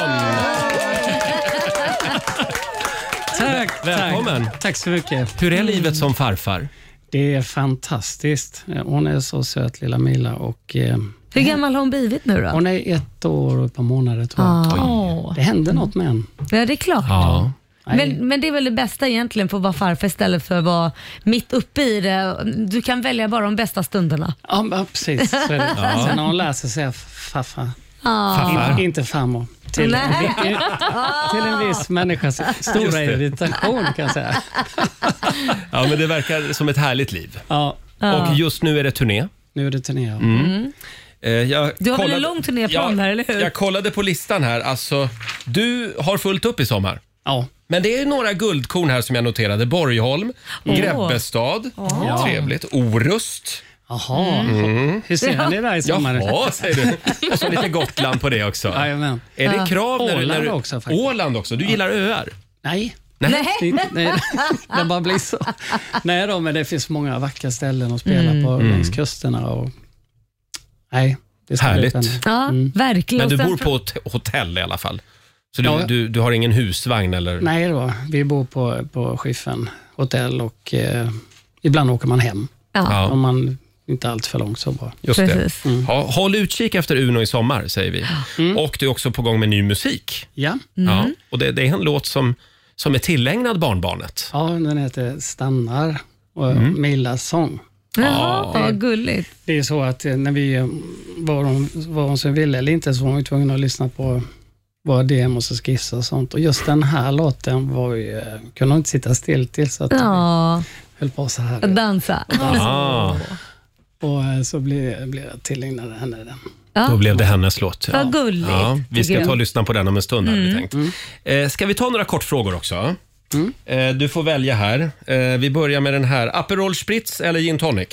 Tack,
Välkommen!
Tack, tack så mycket.
Hur är livet som farfar?
Det är fantastiskt. Eh, Hon är så söt, lilla Mila. Och, eh,
Hur gammal har hon blivit nu då?
hon är ett år och ett par månader, tror jag.
Åh.
Det händer något med henne.
Ja, det är klart.
Ja.
Nej.
Men, men det är väl det bästa egentligen för att vara farfar istället för att vara mitt uppe i det. Du kan välja bara de bästa stunderna.
Ja, men precis. Så är det. Sen när hon läser sig f- farfar.
Farfar.
In, inte farmor. Till en,
Nej.
vi- till en viss människas
Just
stora
det.
irritation, kan jag säga.
Ja, men det verkar som ett härligt liv.
Ja,
Och just nu är det turné.
nu är det turné.
Eh, jag
Du har väl en
kollade-
lång turnéplan
Ja,
här, eller hur?
Jag kollade på listan här. Alltså, du har fullt upp i sommar.
Ja,
Men det är några guldkorn här som jag noterade. Borgholm, Grebbestad, trevligt, Orust.
jaha. Hur ser ni där i sommar?
Jaha, säger du. Och så lite Gotland på det också.
Jajamän.
Är det krav när du... När du
Åland också, faktiskt.
Åland också. Du gillar öar.
Nej.
Nej.
Det, nej, det bara blir så. Nej då, men det finns många vackra ställen att spela på längs kusterna. Och, nej, det ska bli
Härligt.
spännande.
Ja, verkligen.
Mm. Men du
Och sen
bor
fr-
på hot- hotell i alla fall. Så du,
Ja.
du, du har ingen husvagn eller?
Nej då, vi bor på, på Skiffen hotell och eh, ibland åker man hem.
Ja,
Ja,
Om man inte allt för långt så bra.
just det. Mm.
precis.
Ja, håll utkik efter Uno i sommar, säger vi. Och du är också på gång med ny musik.
Ja,
Ja, och det, det är en låt som, som är tillägnad barnbarnet.
ja den heter Stannar och
Mm.
Milas sång.
Jaha, vad gulligt.
Det är så att eh, när vi, eh, vad hon, vad hon så ville eller inte, så var hon ju tvungen att lyssna på våra demos och skisser och sånt. Och just den här låten var ju, eh, kunde hon inte sitta still till, så att
Ja,
vi höll på så här.
att dansa.
Ah,
Och eh, så blev, blev jag tillägnad henne den.
då blev det hennes låt.
Vad gulligt.
Ja, vi
tycker
ska
jag.
ta och lyssna på den om en stund. Hade vi tänkt. Eh, ska vi ta några kortfrågor också? Eh, du får välja här. Eh, vi börjar med den här. Aperol spritz eller gin tonic?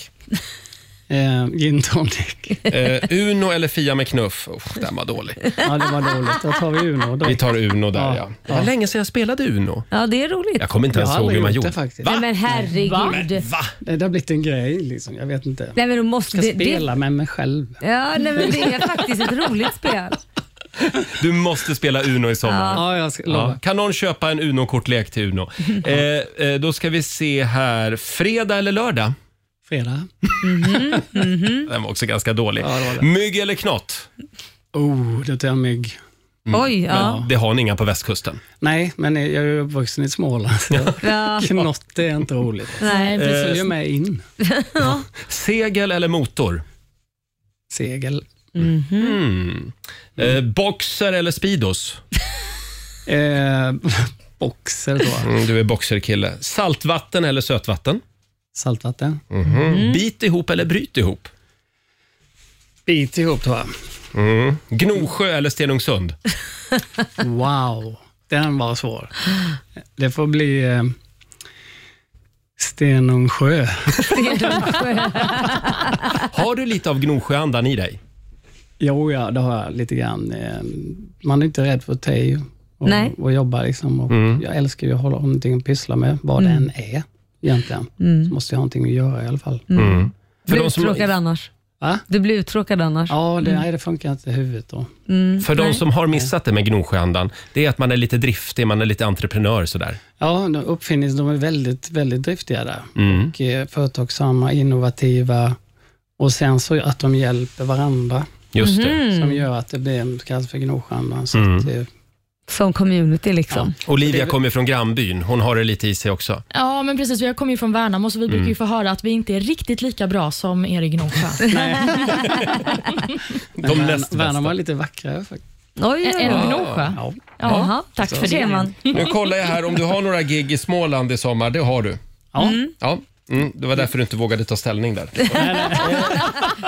Eh, gin tonic.
Eh, Uno eller Fia med knuff? Oh, den var dålig.
Ja, det var
Ah,
dåligt. Då tar vi Uno då.
Vi tar Uno där ja.
Ja.
Det var länge sedan jag spelade Uno.
Ja, det är roligt.
Jag kommer inte ens
Jag har
ihåg hur
aldrig
man
gjort
gjorde.
det faktiskt.
Nej, men herregud.
Det, det har blivit en grej liksom. Jag vet inte.
Nej, men du måste...
Jag
Det,
ska
det,
spela med mig själv.
ja, nej, men det är faktiskt ett roligt spel.
Du måste spela Uno i sommar.
Ja, jag ska,
Ja.
lovar.
Kan någon köpa en Uno-kortlek till Uno? Eh, eh, då ska vi se här. Fredag eller lördag?
Fredag.
Mm.
Den var också ganska dålig.
Ja, det var det.
Mygg eller knott?
Oh, det tar jag mygg.
Mm,
Oj, ja.
Det har ni inga på västkusten.
Nej, men jag är ju uppvuxen i Småland. så
ja.
Knott det är inte roligt.
Nej,
Eh,
Det
Eh.
precis.
följer med in.
Segel eller motor?
Segel.
Mm. Eh, boxer eller Speedos?
Eh, boxer då.
Mm, du är boxerkille. Saltvatten eller sötvatten?
Saltvatten.
Mm.
Bit ihop eller bryt ihop?
Bit ihop tror jag.
Gnosjö eller Stenungsund?
Wow, den var svår. Det får bli eh, Stenungsjö.
Har du lite av Gnosjöandan i dig?
Jo, ja, det har jag lite grann. Eh, Man är inte rädd för att ta i och,
Nej.
och jobba. Liksom. Och Jag älskar ju att hålla om någonting att pyssla med, vad det än är egentligen. Så måste jag ha någonting att göra i alla fall.
Du
För
blir
de,
uttråkad
som,
annars.
Va?
Du blir uttråkad annars.
Ja, det, nej, det funkar inte i huvudet då.
för de som har missat det med Gnosjöandan, det är att man är lite driftig, man är lite entreprenör sådär.
Ja, de- uppfinnings, de är väldigt, väldigt driftiga där.
Mm,
Och, eh, företagsamma, innovativa och sen så att de hjälper varandra
Just det.
Mhm.
som
Mm.
gör att det blir, kallas för Gnosjöandan. Så att, eh,
Som community liksom.
Olivia kommer från grannbyn, hon har det lite i sig också.
Ja, men precis. Jag kommer ju från Värnamo, så vi brukar
Mm.
ju få höra att vi inte är riktigt lika bra som er i Gnosjö.
men
De
Värn-
näst bästa.
Värnamo är lite vackrare faktiskt.
Oj,
Är
oj,
du
oj.
Gnosjö?
Ja.
Jaha, tack
för det.
Man.
Nu kollar jag här om du har några gig i Småland i sommar, det har du.
Ja.
Ja, mm, det var därför du inte vågade ta ställning där.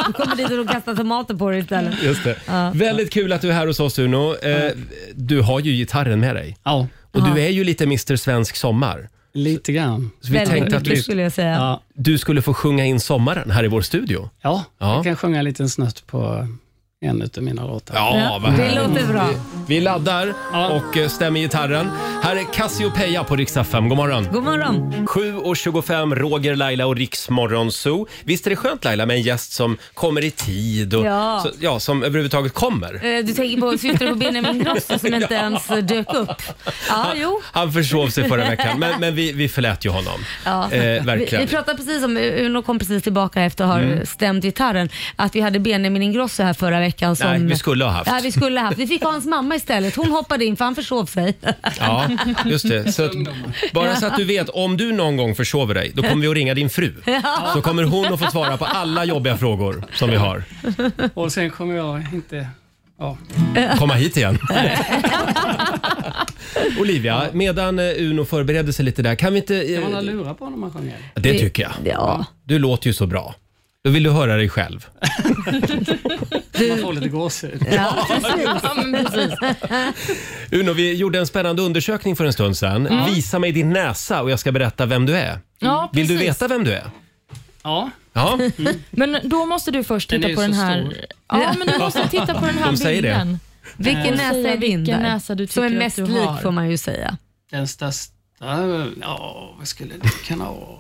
Du kommer dit och de kastar tomater på dig istället.
Just det. Väldigt kul att du är här hos oss Uno. Eh, du har ju gitarren med dig.
ja,
Och du är ju lite Mr Svensk Sommar.
lite grann.
Så vi
Väldigt
tänkte att
roligt
du,
skulle jag säga.
Ja,
du skulle få sjunga in sommaren här i vår studio.
ja,
Ja.
jag kan sjunga en liten snutt på en av mina låtar.
Ja, vad
Det
härligt.
låter bra.
Vi laddar
Ja.
och eh, stämmer gitarren. Här är Cassiopeia på Rix FM. God morgon!
God morgon.
7.25, Roger, Laila och Rix Morgonzoo. Visst är det skönt Laila med en gäst som kommer i tid och
Ja.
Så, ja, som överhuvudtaget kommer?
Eh, Du tänker på syster på Benjamin Ingrosso som inte ens eh, dök upp. Ja, jo.
Han försov sig förra veckan, men, men vi, vi förlät ju honom.
Ja.
Eh,
Vi,
verkligen. Mm.
vi pratade precis om, eh, Uno kom precis tillbaka efter att ha stämt gitarren, att vi hade Benjamin Ingrosso här förra veckan. Som,
Nej, vi skulle ha haft.
Ja, vi skulle ha haft. Vi fick ha hans mamma istället. Hon hoppade in för han försov sig.
Ja, just det. Så att, bara så att du vet, om du någon gång försover dig, då kommer vi att ringa din fru. Så kommer hon att få svara på alla jobbiga frågor som vi har.
Och sen kommer jag inte... Ja.
Komma hit igen. Olivia, medan eh, Uno förbereder sig lite där, kan vi inte...
Kan man ha
Eh,
lurar på när man sjunger?
det tycker jag.
Ja.
Du låter ju så bra. Då vill du höra dig själv.
Man får lite gåshud.
Ja, precis.
Ja, men precis.
Uno, vi gjorde en spännande undersökning för en stund sedan. Visa mig din näsa och jag ska berätta vem du är.
Ja,
Vill
precis.
du veta vem du är?
Ja,
Ja,
Men då måste du först
Den
titta
är
på
ju
den
så
här...
stor.
Ja, men du måste titta på den här
De säger det.
bilden.
Vilken
Och
näsa
säga
är din
vilken
där?
näsa du
som är
tycker att
mest
du
lik
har.
får man ju säga.
den största... Ja, vad skulle det kunna vara?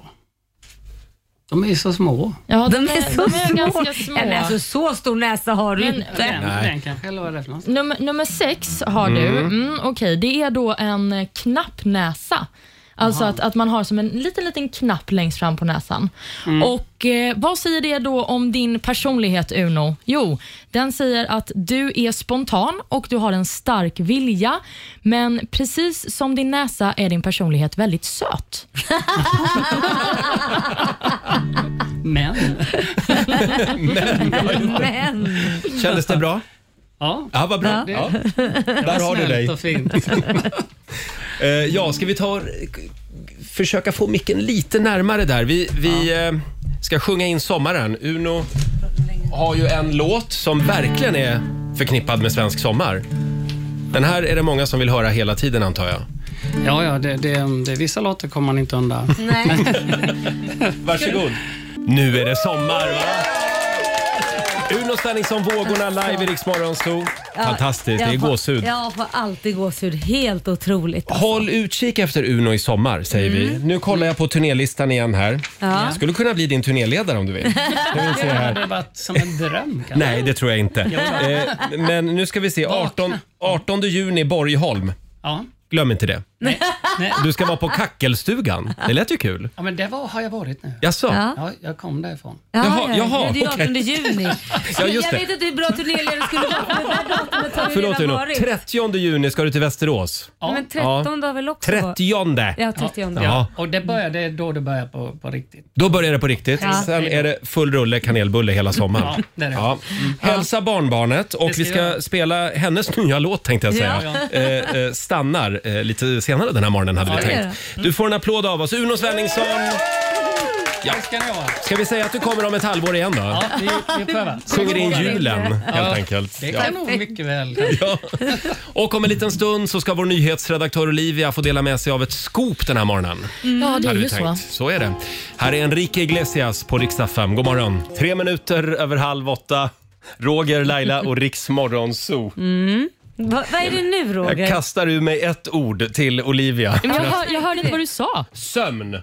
De är så små.
Ja,
De är så
de är
små.
ganska små.
Ja, men alltså, så stor näsa har du
Men-
inte.
Den, den kanske, eller vad är det för någonstans?
Nummer, nummer sex har du. Mm, Okej, det är då en eh, knappnäsa. Alltså att, att man har som en liten, liten knapp längst fram på näsan.
Mm.
Och eh, Vad säger det då om din personlighet, Uno? Jo, den säger att du är spontan och du har en stark vilja. Men precis som din näsa är din personlighet väldigt söt.
Men.
Men
kändes det bra?
Ja,
Ja, vad bra. Ja. Där har du
snällt
dig.
och fint.
Eh, ja, ska vi ta k- försöka få micken lite närmare där? Vi, vi eh, ska sjunga in sommaren. Uno har ju en låt som verkligen är förknippad med svensk sommar. Den här är det många som vill höra hela tiden antar jag.
Ja, ja, det, det, det, vissa låtar kommer man inte undan.
nej.
Varsågod. Nu är det sommar va? Uno Svenningsson, Vågorna live i Rix Morgonzoo.
Ja,
Fantastiskt, det
jag
är
får-
gåshud.
Jag får alltid gåshud. Helt otroligt.
Håll utkik efter Uno i sommar, säger
Mm.
vi. Nu kollar jag på turnélistan igen här.
Ja.
Skulle kunna bli din turnéledare om du vill. Ska vi se här.
Det hade varit som en dröm. kanske.
Nej, det tror jag inte.
Jo.
Eh, men nu ska vi se. 18, 18 juni, Borgholm.
Ja.
Glöm inte det.
Nej. Nej.
Du ska vara på Kackelstugan. Det lät ju kul.
Ja, men det var, har jag varit nu.
Jaså?
Ja. jag kom därifrån.
Jaha, jaha,
det är 18
okej.
juni.
Ja, just
jag
det.
vet inte hur bra turnéledare skulle vara för det där datumet har vi
Förlåt
redan
Uno.
varit.
30 juni ska du till Västerås.
Ja. Men 13 har väl också varit?
30.
Ja, 30.
Ja.
Och det började då det började på, på riktigt.
Då börjar det på riktigt.
Ja.
Sen är det full rulle kanelbulle hela sommaren.
Ja, det Mm. är det.
Hälsa barnbarnet och vi ska spela hennes nya låt tänkte jag säga.
Ja.
Eh, eh, stannar eh, lite senare den här morgonen hade
Ja,
vi
det är
tänkt. Du får en applåd av oss. Uno Svenningsson! Ja.
Ska, ni ha?
vi säga att du kommer om ett halvår igen då?
Ja, vi, vi prövar.
Sjunger in julen
Ja,
helt enkelt.
Det
Ja.
kan nog mycket väl.
Ja. Och om en liten stund så ska vår nyhetsredaktör Olivia få dela med sig av ett scoop den här morgonen.
Mm. Ja, det är
Hade vi
ju så.
tänkt. Så är det. Här är Enrique Iglesias på riksdag 5. God morgon. Tre minuter över halv åtta. Roger, Laila och Riks Morgonzoo.
Mm. Va, vad är det nu Roger?
Jag kastar ur mig ett ord till Olivia.
Men jag hör-
Jag hörde inte vad du sa.
Sömn.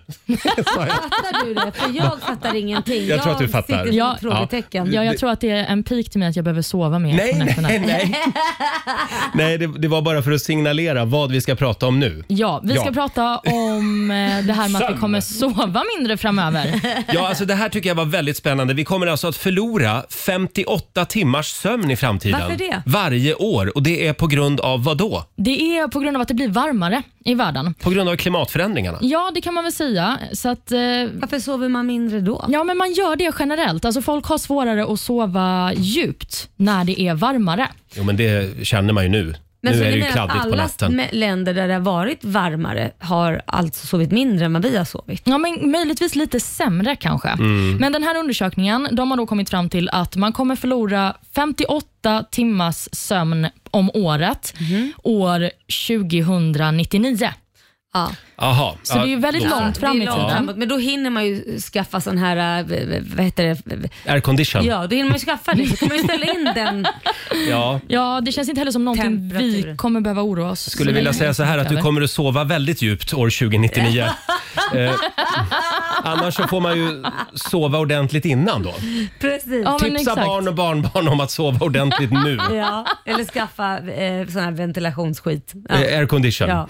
Fattar du det? För jag fattar ingenting.
Jag tror att du fattar.
sitter som
Ja.
ett frågetecken.
Ja, jag tror att det är en pik till mig att jag behöver sova mer
Nej,
på
nej,
nätterna.
nej. Nej, det, det var bara för att signalera vad vi ska prata om nu.
Ja, vi ska
Ja.
prata om eh, det här med att
Sömn.
vi kommer sova mindre framöver.
Ja, alltså det här tycker jag var väldigt spännande. Vi kommer alltså att förlora 58 timmars sömn i framtiden.
Varför det?
Varje år. Och det är på grund av vad då?
Det är på grund av att det blir varmare i världen.
På grund av klimatförändringarna.
Ja, det kan man väl säga. Så att, eh, Varför sover man mindre då? Ja, men man gör det generellt. Alltså, folk har svårare att sova djupt när det är varmare.
Jo, men det känner man ju nu. nu
så
är det
du
ju
menar att
kladdigt på
alla
natten.
me- länder där det har varit varmare har alltså sovit mindre än vad vi har sovit?
Ja, men möjligtvis lite sämre kanske.
Mm.
Men den här undersökningen de har då kommit fram till att man kommer förlora 58 timmars sömn om året
Mhm.
år 2099.
Jaha.
Så det är ju väldigt
då-
långt fram i
Det är långt
tiden.
framåt, Men då hinner man ju skaffa sån här, eh, v- v- vad heter det?
Aircondition.
Ja, då hinner man ju skaffa det. Så kan man ju ställa in den.
Ja.
Ja, det känns inte heller som någonting vi kommer behöva oroa oss
Jag skulle vilja säga så här att du kommer att sova väldigt djupt år 2099. eh, annars så får man ju sova ordentligt innan då.
Mm, Precis.
Tipsa barn och barnbarn om att sova ordentligt nu.
Ja, eller skaffa eh, sån här ventilationsskit. Ja.
Eh, Aircondition.
Ja,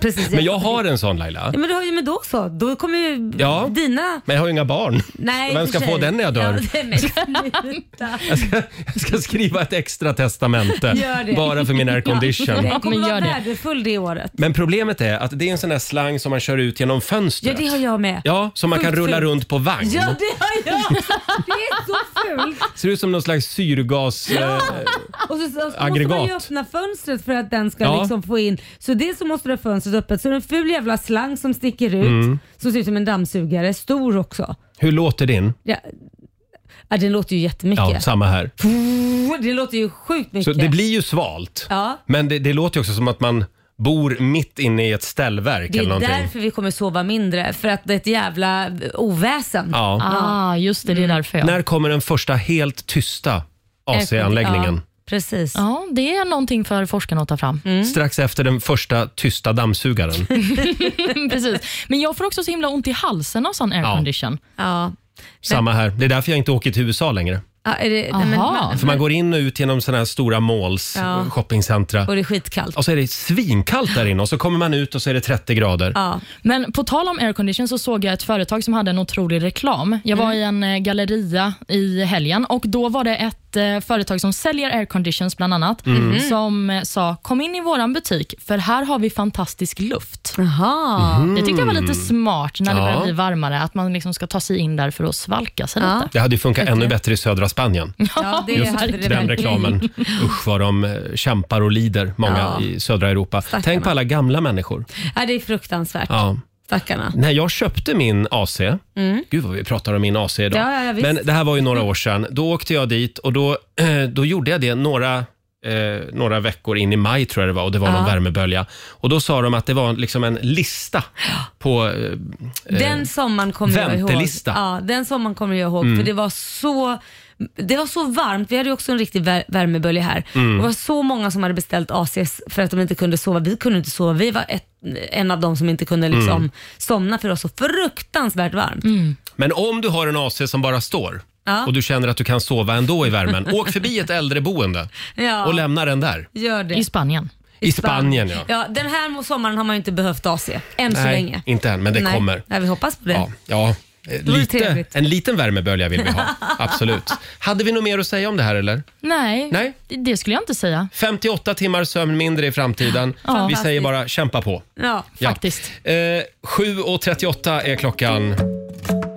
precis.
Men jag har en sån Laila.
Ja, men, du har ju, men då så, då kommer ju
Ja.
dina...
Men jag har ju inga barn.
Nej,
Vem ska
för sig.
få den när jag dör?
Ja, nej, men sluta.
Jag ska skriva ett extra testamente
Gör det.
bara för min
Ja,
aircondition.
den kommer vara värdefull det året.
Men problemet är att det är en sån där slang som man kör ut genom fönstret.
Ja, det har jag med.
Ja, som man kan
Sjukt
rulla
fult.
runt på vagn.
Ja, det har jag! Det är så fult.
Ser ut som någon slags syrgas... Eh,
Och så, så, så måste
Aggregat.
man ju öppna fönstret för att den ska
Ja.
liksom få in. Så dels så måste du ha fönstret öppet. Så det är en ful jävla slang som sticker ut
Mm.
som ser ut som en dammsugare. Stor också.
hur låter din?
Ja, ja, den låter ju jättemycket.
Ja, samma här.
Puh, Det låter ju sjukt mycket.
Så det blir ju svalt.
Ja.
Men det, det låter ju också som att man bor mitt inne i ett ställverk
Det är
eller någonting.
därför vi kommer sova mindre. För att det är ett jävla oväsen.
Ja.
Ah, just det. Det är därför
När kommer den första helt tysta AC-anläggningen?
precis.
Ja, det är någonting för forskarna att ta fram.
Mm.
Strax efter den första tysta dammsugaren.
Mm.
Precis. Men jag får också så himla ont i halsen av sån aircondition.
Ja.
Samma här. Det är därför jag inte åker till USA längre.
Ja, är det, nej, men, man,
För man går in och ut genom sådana här stora malls,
Ja.
shoppingcentra.
och det är skitkallt.
Och så är det svinkallt där inne och så kommer man ut och så är det 30 grader.
Men på tal om aircondition så såg jag ett företag som hade en otrolig reklam. Jag
Mm.
var i en eh, galleria i helgen och då var det ett eh, företag som säljer airconditions bland annat
Mm.
Mm.
Mhm.
som eh, sa kom in i våran butik för här har vi fantastisk luft.
Aha.
Mhm.
Det tyckte jag var lite smart när det
Mm. Ja.
börjar bli varmare att man liksom ska ta sig in där för att svalka sig lite.
Det hade ju funkat ännu bättre i södra Spanien.
Ja, det
Just
hade det
den
verkligen.
reklamen. Usch vad de eh, kämpar och lider, många
Ja.
i södra Europa. Tänk på alla gamla människor.
Ja, det är fruktansvärt.
Ja.
Stackarna.
När jag köpte min AC,
Mm.
gud vad vi pratar om min AC idag.
Ja, ja, ja, visst.
Men det här var ju några år sedan. Då åkte jag dit och då, eh, då gjorde jag det några eh, några veckor in i maj tror jag det var och det var någon
Ja.
värmebölja. Och då sa de att det var liksom en lista på... eh, eh,
Den sommaren kommer jag ihåg.
väntelista.
Ja, den sommaren kommer jag ihåg
Mm.
för det var så det var så varmt, vi hade ju också en riktig vär- värmebölja här.
Mm.
Det var så många som hade beställt ACs för att de inte kunde sova. Vi kunde inte sova, vi var ett, en av dem som inte kunde liksom
Mm.
somna för det var så fruktansvärt varmt.
Men om du har en AC som bara står
Ja.
och du känner att du kan sova ändå i värmen, åk förbi ett äldreboende
Ja.
och lämna den där.
Gör det.
I Spanien.
I Spanien, ja.
ja. Den här sommaren har man ju inte behövt AC, än så
Nej,
länge.
inte än, men det
Nej.
kommer.
Nej, vi hoppas på det.
Ja, ja. Eh,
vore
Lite,
trevligt.
en liten värmebölja vill vi ha, absolut. Hade vi något mer att säga om det här eller?
Nej,
Nej.
det- det skulle jag inte säga.
58 timmar sömn mindre i framtiden.
Ja.
Vi
Fantastiskt.
säger bara kämpa på.
Ja,
faktiskt.
Eh, 7.38 är klockan.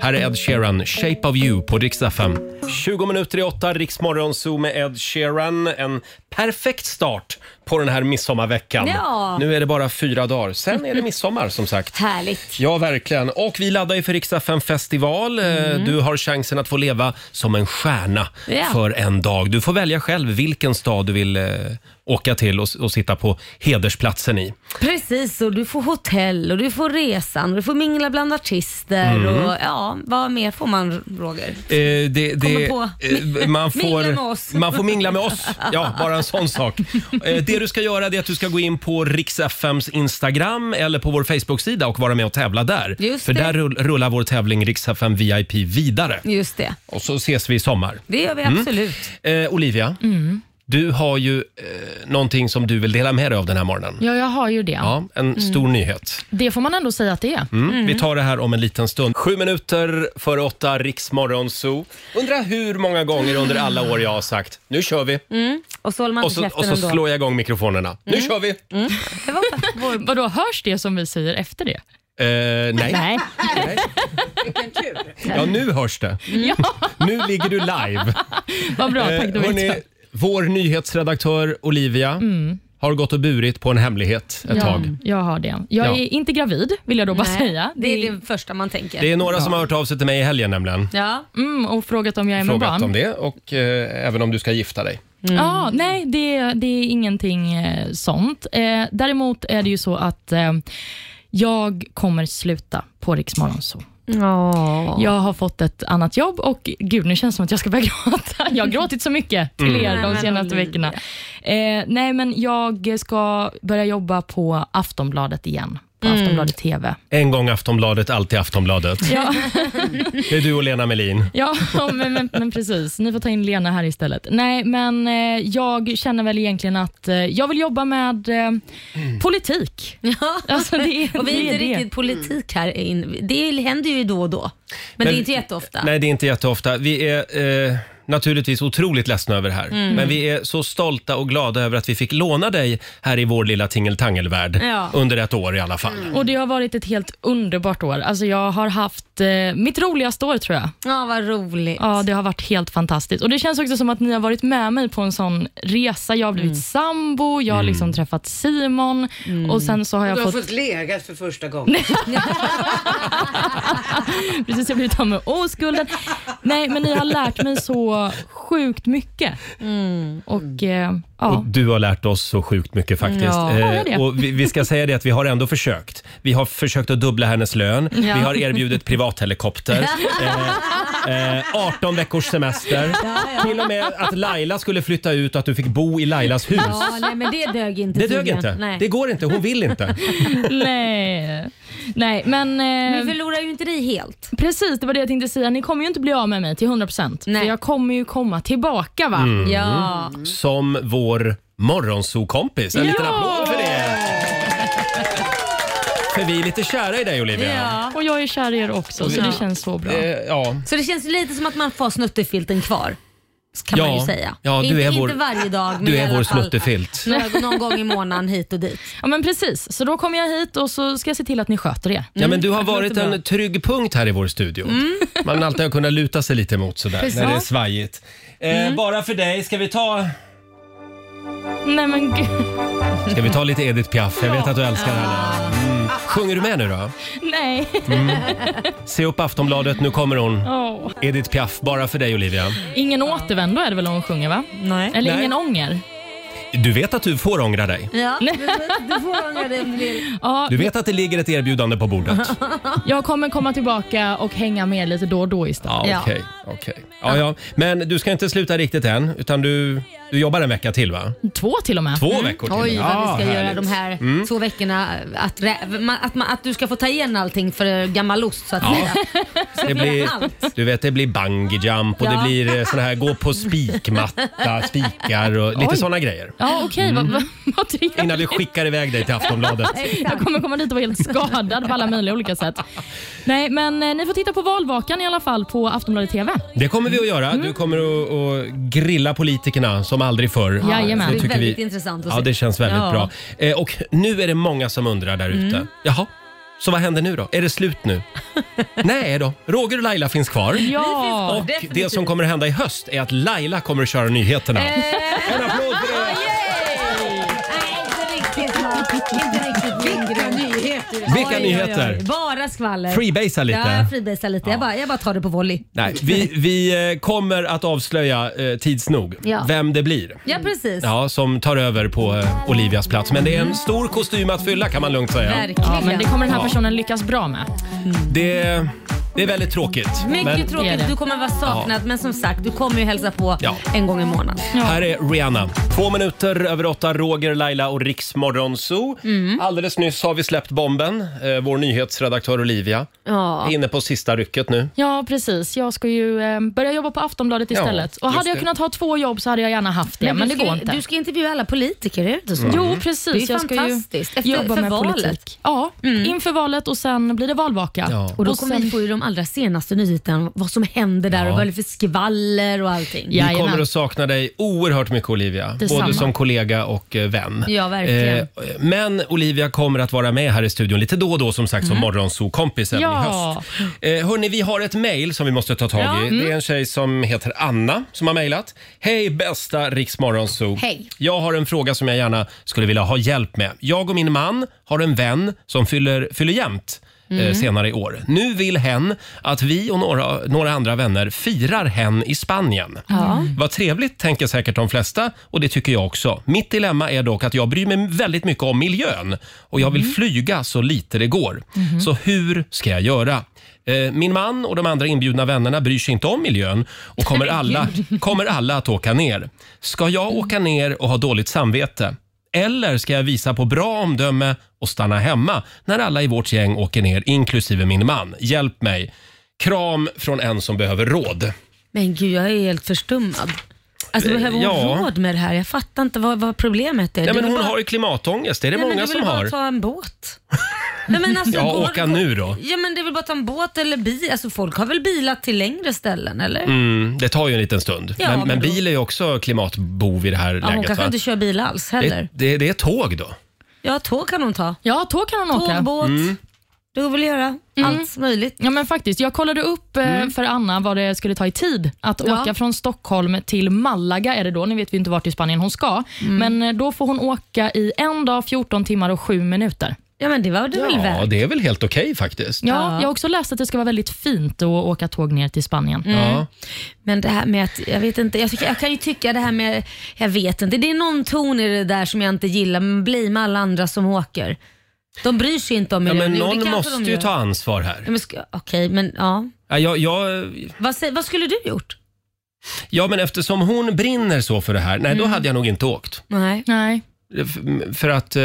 Här är Ed Sheeran, Shape of you på riksdag 5. 20 minuter i 8, Riksmorgon Zoo med Ed Sheeran. En perfekt start på den här midsommarveckan.
Ja.
Nu är det bara fyra dagar, sen är det midsommar som sagt.
Härligt.
Ja, verkligen. Och vi laddar ju för Riksdag 5 festival. Eh, Du har chansen att få leva som en stjärna
Mm. Ja.
för en dag. Du får välja själv vilken stad du vill eh, åka till och, och sitta på hedersplatsen i.
Precis, och du får hotell och du får resan och du får mingla bland artister
Mm.
och ja, vad mer får man Roger?
Eh, det, det,
Kommer på.
eh, man, får,
Mingla med oss.
man får mingla med oss. Ja, bara en sån sak. Eh, det du ska göra det är att du ska gå in på Riks-FMs Instagram eller på vår Facebook-sida och vara med och tävla där.
Just
För
det.
där rull- rullar vår tävling Riks-FM VIP vidare.
Just det,
Och så ses vi i sommar.
det gör vi
Mm.
absolut.
Eh, Olivia,
Mm.
du har ju eh, någonting som du vill dela med dig av den här morgonen.
Ja, jag har ju det.
Ja, en
Mm.
stor nyhet.
Det får man ändå säga att det är.
Mm. Vi tar det här om en liten stund. Sju minuter före åtta, Riksmorgon Zoo. Undrar hur många gånger under
Mm.
alla år jag har sagt nu kör vi.
Mm. Och så håller man
Och
inte
så,
käften
och så
ändå.
slår jag igång mikrofonerna. Nu
Mm.
kör vi! Eh,
Vadå, hörs det som vi säger efter det? Mm.
Eh, nej.
Nej.
Ja, nu hörs det.
Mm. Ja.
Nu ligger du live.
Vad bra, tack. Då
Eh,
vet
hörni,
jag. Mm.
vår nyhetsredaktör Olivia har gått och burit på en hemlighet ett
ja,
tag.
Jag har det. Jag
Ja.
är inte gravid, vill jag då bara
Nej,
säga.
Det är det första man tänker.
Det är några som har hört av sig till mig i helgen nämligen.
Ja.
Mm, och frågat om jag är med
Frågat
barn.
om det och eh, även om du ska gifta dig.
Ja, nej, det, det är ingenting eh, sånt. Eh, däremot är det ju så att eh, jag kommer sluta på Rix Morgon Zoo.
Ja.
Jag har fått ett annat jobb och gud, nu känns det som att jag ska börja gråta. Jag har gråtit så mycket till
Mm.
er
Nej,
de
men
senaste
Olivia.
veckorna. Eh, nej, men jag ska börja jobba på Aftonbladet igen. På
Mm.
Aftonbladet TV.
En gång Aftonbladet, alltid Aftonbladet.
Ja.
Det är du och Lena Melin.
Ja, men, men, men precis. Ni får ta in Lena här istället. Nej, men eh, jag känner väl egentligen att eh, jag vill jobba med eh, politik.
Mm. Ja.
Alltså, det är-
och vi är
det
inte
är det.
riktigt politik här. In. Det händer ju då och då, men, det är inte jätteofta.
Nej, det är inte jätteofta. Vi är eh, naturligtvis otroligt ledsna över det här.
Mm.
Men vi är så stolta och glada över att vi fick låna dig här i vår lilla tingeltangelvärld.
Ja. Mm.
Under ett år i alla fall.
Och Det har varit ett helt underbart år. Alltså, jag har haft eh, mitt roligaste år, tror jag.
Ja, vad roligt.
Ja, det har varit helt fantastiskt. Och Det känns också som att ni har varit med mig på en sån resa. Jag har blivit sambo, jag har liksom träffat Simon och sen så har jag
du har
fått...
fått... legat för första gången.
Precis, jag har blivit av med oskulden. Nej, men ni har lärt mig så sjukt mycket. Och eh,
Och
ja,
du har lärt oss så sjukt mycket faktiskt. Eh,
Ja. Ja, jag det.
och vi, vi ska säga det att vi har ändå försökt. Vi har försökt att dubbla hennes lön.
Ja.
Vi har erbjudit privathelikopter. Eh, eh, 18 veckors semester. Till och med att Laila skulle flytta ut och att du fick bo i Lailas hus.
Ja, nej, men det dög inte.
Det dög
tydligen.
inte.
Nej.
Det går inte. Hon vill inte.
nej. Nej, men... eh,
Vi förlorar ju inte dig helt.
Precis, det var det jag tänkte säga. Ni kommer ju inte bli av med mig till 100%. För jag kommer ju komma tillbaka va?
Mm. Som vår morgonsokompis. En liten applåd för det. För vi är lite kära i dig Olivia.
Och jag är kär i er också, så
Ja.
det känns så bra.
Eh, ja.
Så det känns lite som att man får snuttefilten kvar. Kan man
Ja.
ju säga.
Ja, du
inte,
är vår-
inte varje dag, men
Du
i
är
alla
vår
fall
snuttefilt.
några- Någon gång i månaden hit och dit.
Ja, men precis. Så då kommer jag hit och så ska jag se till att ni sköter er.
Ja, men du har varit en trygg punkt här i vår studio. Man alltid har kunnat luta sig lite mot sådär
Precis.
när det är
Ja.
svajigt. Eh, Bara för dig, ska vi ta
Nej men gud.
Ska vi ta lite Edith Piaf? Jag vet att du älskar henne. Mm. Sjunger du med nu då?
Nej.
Se upp Aftonbladet, nu kommer hon.
Åh.
Edith Piaf, bara för dig Olivia.
Ingen återvändo är det väl hon sjunger va?
Nej.
Eller
Nej.
ingen ånger?
Du vet att du får ångra dig?
Ja, du, du får ångra dig om du vill.
Ja,
Du vet att det ligger ett erbjudande på bordet?
Jag kommer komma tillbaka och hänga med lite då och då istället.
Ja, okej. okej. Ja, ja. Men du ska inte sluta riktigt än, utan du, du jobbar en vecka till va?
Två till och med.
Två veckor till.
Mhm. Oj, vad
Ja,
vi ska göra
härligt.
de här
Mm.
två veckorna. Att, rä- ma- att, ma- att du ska få ta igen allting för gammal ost så att säga.
Det blir, du vet, det blir bungee jump och
Ja.
det blir eh, sån här gå på spikmatta, spikar och lite
Oj.
såna grejer.
Ja, okej. vad- vad- vad trevligt.
Mm. Innan vi skickar iväg dig till Aftonbladet.
Jag kommer komma dit och vara helt skadad på alla möjliga olika sätt. Nej, men eh, ni får titta på valvakan i alla fall på Aftonbladet TV.
Det kommer vi att göra.
Mm.
Du kommer att, att grilla politikerna som aldrig förr.
Jajamän.
Det är
tycker
väldigt intressant att
Ja,
se.
det känns väldigt
Ja.
bra. Eh, och nu är det många som undrar där ute.
Mm.
Jaha, så vad händer nu då? Är det slut nu? Nej då, Roger och Laila finns kvar.
Ja.
Och det som kommer att hända i höst är att Laila kommer att köra nyheterna.
Eh. En
applåd för det!
Vilka nyheter!
Vilka nyheter?
Bara skvaller.
Freebasea lite.
Ja, jag freebasar lite. Jag, bara, jag bara tar det på volley.
Nej, vi, vi eh, kommer att avslöja eh, tids nog
Ja.
vem det blir.
Ja, precis.
Mm. Ja, som tar över på eh, Olivias plats. Men det är en stor kostym att fylla kan man lugnt säga.
Verkligen. Ja, men det kommer den här
Ja.
personen lyckas bra med.
Det, det är väldigt tråkigt.
Mycket
men-
tråkigt. Du kommer vara saknad, men som sagt, du kommer ju hälsa på
Ja.
en gång i månaden.
Här är Rihanna. Två minuter över åtta, Roger, Laila och Riksmorgon Zoo. Alldeles nyss har vi släppt bomben, eh, vår nyhetsredaktör Olivia.
Ja.
Är inne på sista rycket nu.
Ja, precis. Jag ska ju eh, börja jobba på Aftonbladet
Ja,
istället. och
just
hade jag
det.
kunnat ha två jobb så hade jag gärna haft det, men,
du
det
ska,
går
ju-
inte.
Du ska intervjua alla politiker, är det inte så?
Mm. Jo, precis.
Det är ju
jag ska ju
fantastiskt. Efter,
jobba
för
med
valet.
politik. Ja, inför valet och sen blir det valvaka.
Och då
sen-
kommer vi få ju de allra senaste nyheterna, vad som händer där
Ja.
och vad det är för skvaller och allting.
Vi kommer att sakna dig oerhört mycket Olivia,
Detsamma.
både som kollega och eh, vän. Eh,
Ja, verkligen.
men Olivia kommer att vara med här i studion lite då och då som sagt som
Mm.
morgonsokompisen i höst.
Ja.
Eh, hörni, vi har ett mejl som vi måste ta tag i.
Ja.
Det är en tjej som heter Anna som har mejlat. Hej bästa Riksmorgonzoo.
Hej.
Jag har en fråga som jag gärna skulle vilja ha hjälp med. Jag och min man har en vän som fyller, fyller jämnt. eh,
Mm.
senare i år. Nu vill hen att vi och några, några andra vänner firar hen i Spanien.
Ja.
Vad trevligt, tänker säkert de flesta och det tycker jag också. Mitt dilemma är dock att jag bryr mig väldigt mycket om miljön och jag vill flyga så lite det går.
Mhm.
Så hur ska jag göra? Eh, Min man och de andra inbjudna vännerna bryr sig inte om miljön och kommer alla, kommer alla att åka ner. Ska jag åka ner och ha dåligt samvete? Eller ska jag visa på bra omdöme och stanna hemma när alla i vårt gäng åker ner, inklusive min man? Hjälp mig. Kram från en som behöver råd.
Men gud, jag är helt förstummad. Alltså
Eh,
behöver hon
ja.
råd med det här? Jag fattar inte vad, vad problemet är.
Ja,
Det
men
är
hon
bara-
har ju klimatångest, det är det
Nej, men
många
du
som
vill
har.
bara ta en båt. Nej, men alltså,
ja,
går-
åka nu då.
Ja men det är väl bara att ta en båt eller bil. Alltså folk har väl bilat till längre ställen eller?
Mm, det tar ju en liten stund.
Ja,
men,
men
men
då-
bil är ju också klimatbov i det här
Ja, hon
läget.
kanske
va?
inte kör bil alls
det,
heller.
det, det är tåg då.
Ja tåg kan hon ta.
Ja tåg kan hon
tåg,
åka.
båt. Mm.
Mm.
Du vill göra allt möjligt.
Ja men faktiskt. Jag kollade upp eh,
Mm.
för Anna vad det skulle ta i tid att
Ja.
åka från Stockholm till Malaga är det då. Nu vet vi inte vart i Spanien hon ska. Men eh, då får hon åka i en dag, 14 timmar och 7 minuter.
Ja men det var det väl Mm.
Ja,
värt.
det är väl helt okej faktiskt.
Ja, Jag har också läst att det ska vara väldigt fint att åka tåg ner till Spanien.
Mm. Ja. Men det här med att, jag vet inte, jag, tycker, jag kan ju tycka det här med, jag vet inte, det är någon ton i det där som jag inte gillar, men bli med alla andra som åker. De bryr sig inte om
Ja,
miljön.
men
Jo, det
någon
kanske
måste
de
ju
gör.
ta ansvar här.
Ja, men ska- Okej, men ja.
Ja, jag, jag,
Vad, sä- vad skulle du gjort?
ja, men eftersom hon brinner så för det här, nej då
Mm.
hade jag nog inte åkt.
Nej.
Nej.
F- För att eh,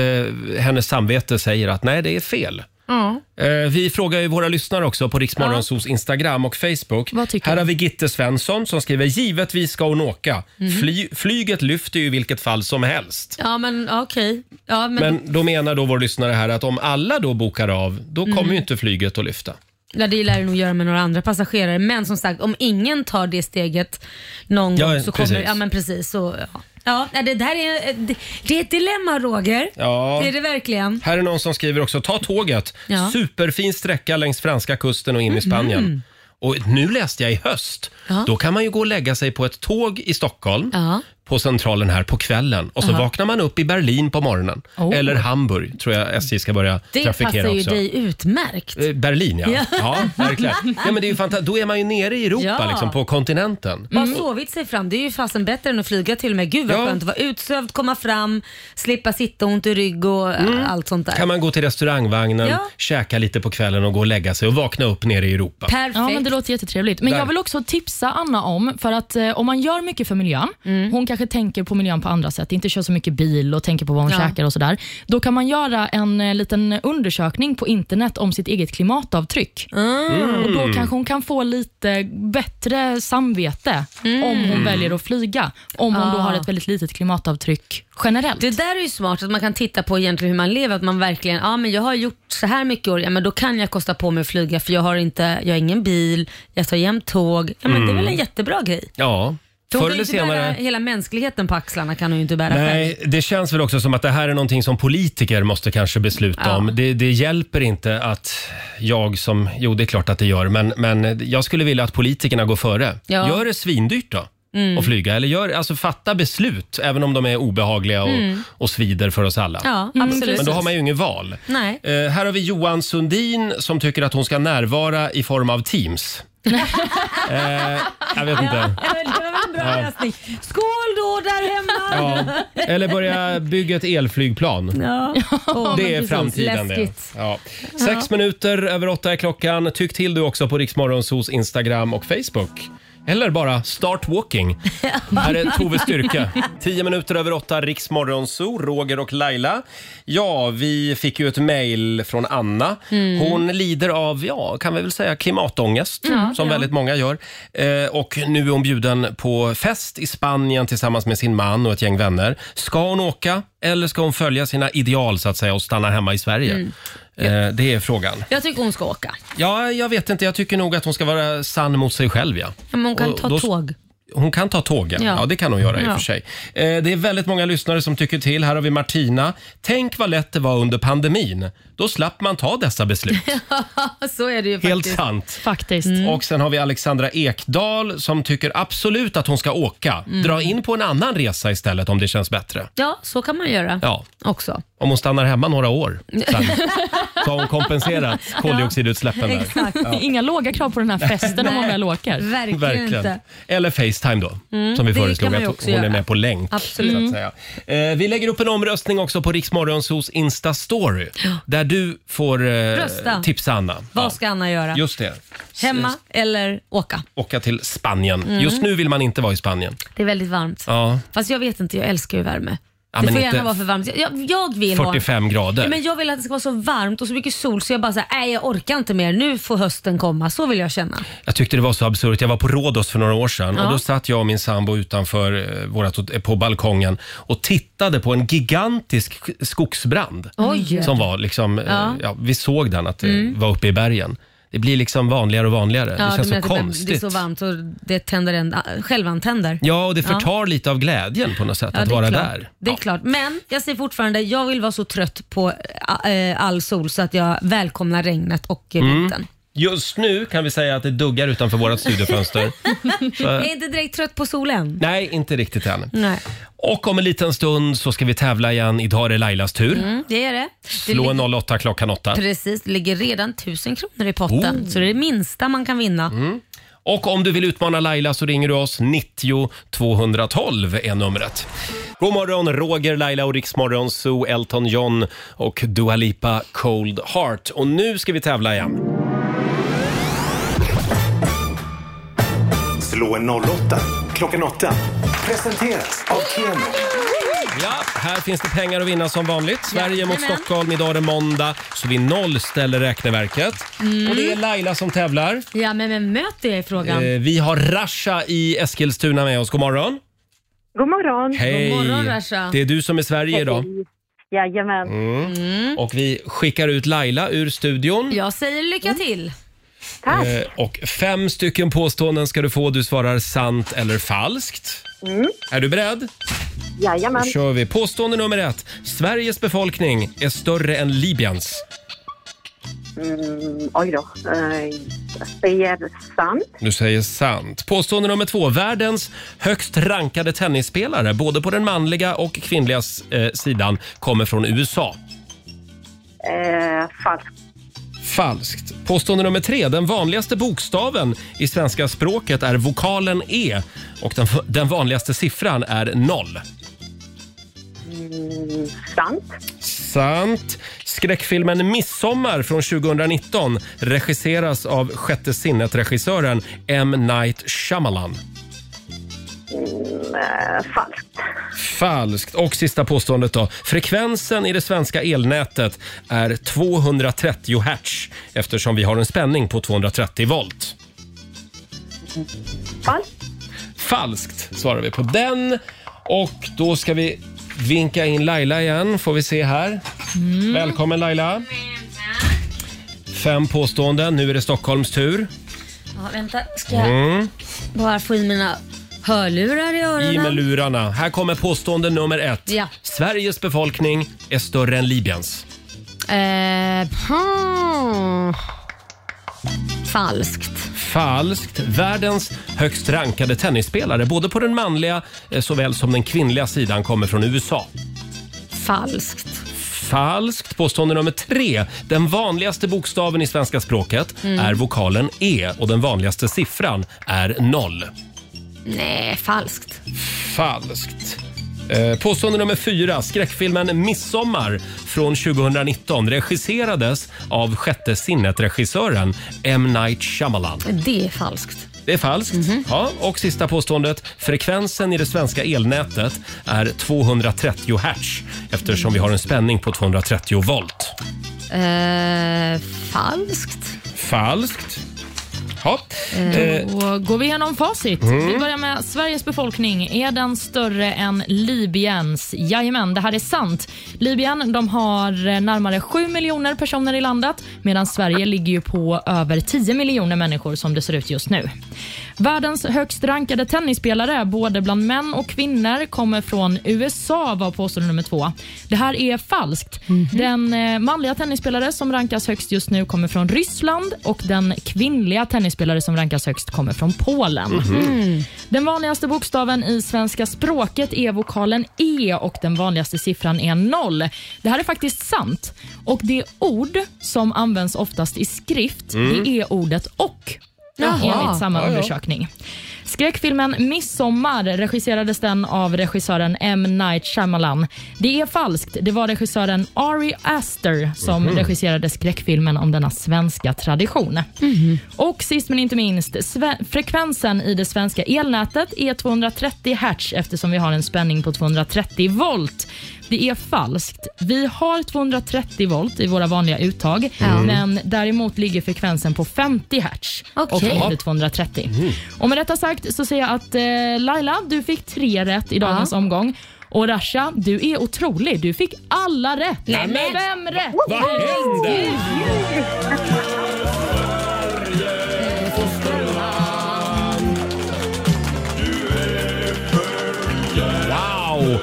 hennes samvete säger att nej, det är fel.
Ja.
Eh, vi frågar ju våra lyssnare också på Riksmorgonsos Instagram och Facebook. Här har vi Gitte Svensson som skriver “Givetvis ska hon åka.
Mhm.
Fly, flyget lyfter ju i vilket fall som helst.”
Ja men okej. Ja, men,
Men då menar då vår lyssnare här att om alla då bokar av, då kommer
Mm.
ju inte flyget att lyfta.
Ja, det lär du nog göra med några andra passagerare. Men som sagt, om ingen tar det steget någon
Ja,
gång så kommer
precis.
Ja, men precis. Så, ja. Ja, nej, det där är, det, det är ett dilemma Roger.
Ja.
Det är det verkligen.
Här är någon som skriver också, ta tåget.
Ja.
Superfin sträcka längs franska kusten och in i Spanien.
Mhm.
Och nu läste jag i höst,
Ja.
då kan man ju gå och lägga sig på ett tåg i Stockholm.
Ja.
på centralen här på kvällen och så
Jaha.
vaknar man upp i Berlin på morgonen.
Oh.
Eller Hamburg tror jag SJ ska börja
Det passar
trafikera
ju
också.
dig utmärkt.
Eh, Berlin ja.
Ja.
ja. verkligen. Ja, men det är ju fantastiskt. Då är man ju nere i Europa
Ja.
liksom, på kontinenten.
Bara sovit sig fram, det är ju fasen bättre än att flyga till och med. Gud vad skönt att vara utsövd, komma fram, slippa sitta ont i rygg och äh, allt sånt där.
Mm. Kan man gå till restaurangvagnen,
Ja.
käka lite på kvällen och gå och lägga sig och vakna upp nere i Europa.
Ja, men det låter jättetrevligt. Men
Där.
jag vill också tipsa Anna om, för att eh, om man gör mycket för miljön,
Mm.
hon kanske tänker på miljön på andra sätt, inte kör så mycket bil och tänker på vad hon
Ja.
käkar och sådär. Då kan man göra en eh, liten undersökning på internet om sitt eget klimatavtryck.
Mm.
Och Då kanske hon kan få lite bättre samvete om hon väljer att flyga, om hon då
Mm. Ah.
har ett väldigt litet klimatavtryck generellt.
Det där är ju smart, att man kan titta på egentligen hur man lever. Att man verkligen, ja men jag har gjort så här mycket år, ja men då kan jag kosta på mig att flyga för jag har, inte, jag har ingen bil, jag tar jämt tåg. Ja men det är väl en
Mm.
jättebra grej.
Ja,
För hon
förr
kan
eller
ju inte bära,
senare.
hela mänskligheten på axlarna kan hon ju inte bära själv.
Nej, det känns väl också som att det här är någonting som politiker måste kanske besluta
Ja.
om. Det, det hjälper inte att jag som, jo det är klart att det gör, men, men jag skulle vilja att politikerna går före.
Ja.
Gör det svindyrt då
Mm.
att flyga, eller gör, alltså fatta beslut, även om de är obehagliga och,
Mm.
och svider för oss alla.
Ja, absolut.
Mm. Men då har man ju ingen val.
Nej.
Eh, här har vi Johan Sundin som tycker att hon ska närvara i form av Teams. eh, jag vet inte.
Ja, men det var väl en bra
Ja.
lösning. Skål då där hemma!
Ja. Eller börja bygga ett elflygplan.
Ja. Åh, men
Oh, Det är
precis.
framtiden det.
Läskigt.
Ja. Sex minuter över åtta är klockan. Tyck till du också på Riksmorgonsos Instagram och Facebook. Eller bara start walking. Här är Tove Styrke. Tio minuter över åtta, Riksmorgonso, Roger och Laila. Ja, vi fick ju ett mejl från Anna.
Mm.
Hon lider av, ja, kan vi väl säga klimatångest,
Ja,
som
ja.
väldigt många gör. Eh, och nu är hon bjuden på fest i Spanien tillsammans med sin man och ett gäng vänner. Ska hon åka eller ska hon följa sina ideal så att säga och stanna hemma i Sverige?
Mm.
Eh, det är frågan.
Jag tycker hon ska åka.
Ja, jag vet inte. Jag tycker nog att hon ska vara sann mot sig själv. Ja.
Ja, Men hon kan
Och
ta
då-
tåg.
Hon kan ta tågen. Ja.
Ja.
det kan hon göra i och
Ja.
för sig. Eh, det är väldigt många lyssnare som tycker till. Här har vi Martina. Tänk vad lätt det var under pandemin. Då slapp man ta dessa beslut.
så är det ju
Helt
faktiskt.
sant.
Faktiskt.
Mm.
Och sen har vi Alexandra Ekdal som tycker absolut att hon ska åka.
Mm.
Dra in på en annan resa istället om det känns bättre.
Ja, så kan man göra
Ja.
också.
Om hon stannar hemma några år sen, så har hon kompenserat koldioxidutsläppen där.
Exakt.
Ja.
Inga låga krav på den här festen om man
Nej.
väl åker.
Verkligen, inte.
Eller Facetime då,
Mm,
som vi
det kan
föreslog
man
att
ju
hon
också
är
göra.
med på länk.
Absolut.
Så att säga. Eh, vi lägger upp en omröstning också på Riksmorgonsos Insta-story där du får eh,
Rösta.
tipsa Anna.
Vad ska Anna göra?
Just det,
Hemma eller åka?
åka till Spanien.
Mm.
Just nu vill man inte vara i Spanien.
Det är väldigt varmt.
Ja.
Fast jag vet inte, jag älskar ju värme.
Ja,
det
men
får
inte
gärna vara för varmt. Jag, jag vill ha...
45 grader.
Ja, men jag vill att det ska vara så varmt och så mycket sol så jag bara säger nej jag orkar inte mer. Nu får hösten komma. Så vill jag känna.
Jag tyckte det var så absurt. Jag var på Rhodos för några år sedan
Ja.
och då satt jag och min sambo utanför eh, vårat, hot- eh, på balkongen och tittade på en gigantisk sk- skogsbrand.
Oj.
Som var liksom, eh,
Ja.
Ja, vi såg den att det
Mm.
var uppe i bergen. Det blir liksom vanligare och vanligare.
Ja,
det känns
menar
så
att det blir-
konstigt.
Det är så varmt och det tänder en, äh, självantänder.
Ja, och det förtar lite av glädjen på något sätt att
det är
vara
klart.
där.
Det är klart. Men jag säger fortfarande, jag vill vara så trött på äh, all sol så att jag välkomnar regnet och eh,
Mm.
vintern.
Just nu kan vi säga att det duggar utanför vårat studiofönster. Så-
jag är inte direkt trött på solen.
Nej, inte riktigt än.
Nej.
Och om en liten stund så ska vi tävla igen. Idag är det Lailas tur.
Mm, det är det. det
Slå en 08 klockan 8.
Precis, det ligger redan 1000 kronor i potten.
Oh.
Så det är det minsta man kan vinna.
Mm. Och om du vill utmana Laila så ringer du oss 90 212 är numret. God morgon, Roger, Laila och Riksmorgon, Zoo, Elton John och Dua Lipa Cold Heart. Och nu ska vi tävla igen.
Slå en 08 klockan 8. Presenteras av Keno.
Ja, här finns det pengar att vinna som vanligt. Sverige mot
Jajamän.
Stockholm. Idag är det måndag, så vi nollställer räkneverket.
Mm.
Och det är Laila som tävlar.
Ja, men, men möter jag i frågan?
Eh, vi har Rasha i Eskilstuna med oss. God morgon.
God morgon.
Hej!
God morgon, Rasha.
Det är du som är Sverige idag.
Jajamän.
Mm. Och vi skickar ut Laila ur studion.
Jag säger
Mm.
lycka till.
Eh, Och fem stycken påståenden ska du få. Du svarar sant eller falskt. Är du beredd?
Jajamän.
Då kör vi. Påstående nummer ett. Sveriges befolkning är större än Libyens.
Mm, oj då. Eh, jag säger sant.
Du säger sant. Påstående nummer två. Världens högst rankade tennisspelare, både på den manliga och kvinnliga s- eh, sidan, kommer från USA.
Eh, falskt.
Falskt. Påstående nummer tre. Den vanligaste bokstaven i svenska språket är vokalen E och den, den vanligaste siffran är noll.
Mm, sant.
Sant. Skräckfilmen Midsommar från 2019 regisseras av Sjätte sinnet-regissören M. Night Shyamalan.
Mm, eh, falskt.
Falskt. Och sista påståendet då. Frekvensen i det svenska elnätet är 230 hertz eftersom vi har en spänning på 230 volt.
Falskt.
Falskt svarar vi på den. Och då ska vi vinka in Laila igen, får vi se här. Välkommen Laila. Fem påståenden, nu är det Stockholms tur.
Ja, vänta, ska jag
Mm.
bara få i mina hörlurar i öronen?
I med lurarna. Här kommer påstående nummer ett.
Mm. Ja.
Sveriges befolkning är större än Libyens.
Eh, hmm. Falskt.
Falskt. Världens högst rankade tennisspelare, både på den manliga eh, såväl som den kvinnliga sidan, kommer från USA.
Falskt.
Falskt. Påstående nummer tre. Den vanligaste bokstaven i svenska språket
Mm.
är vokalen E och den vanligaste siffran är noll.
Nej, falskt.
Falskt. Eh, Påstående nummer fyra. Skräckfilmen Midsommar från 2019 regisserades av sjätte sinnet-regissören M. Night Shyamalan.
Det är falskt.
Det är falskt.
Mhm.
Ja, och sista påståendet. Frekvensen i det svenska elnätet är 230 hertz eftersom vi har en spänning på 230 volt.
Eh, falskt.
Falskt. Ja.
Eh,
Mm.
Eh,
Då går vi igenom facit.
Mm.
Vi börjar med Sveriges befolkning. Är den större än Libyens? Jajamän, det här är sant. Libyen de har eh, närmare 7 miljoner personer i landet medan Sverige ligger ju på över 10 miljoner människor som det ser ut just nu. Världens högst rankade tennisspelare, både bland män och kvinnor, kommer från USA var påstående nummer två. Det här är falskt.
Mhm.
Den eh, manliga tennisspelare som rankas högst just nu kommer från Ryssland och den kvinnliga tennisspelare som rankas högst kommer från Polen.
Mhm.
Den vanligaste bokstaven i svenska språket är vokalen E och den vanligaste siffran är noll. Det här är faktiskt sant. Och det ord som används oftast i skrift,
Mm.
det är ordet och.
Jaha.
Enligt samma
Ja, ja.
undersökning. Skräckfilmen Midsommar regisserades den av regissören M. Night Shyamalan. Det är falskt. Det var regissören Ari Aster som
Mhm.
regisserade skräckfilmen om denna svenska tradition.
Mhm.
Och sist men inte minst, sve- frekvensen i det svenska elnätet är 230 hertz eftersom vi har en spänning på 230 volt. Det är falskt. Vi har 230 volt i våra vanliga uttag,
Ja.
men däremot ligger frekvensen på 50 hertz och
Okej.
inte 230. Och med detta sagt så säger jag att eh, Laila, du fick tre rätt i dagens omgång. Och Rasha, du är otrolig. Du fick alla rätt.
Nej, men-
Fem rätt!
Vad händer?
Wow!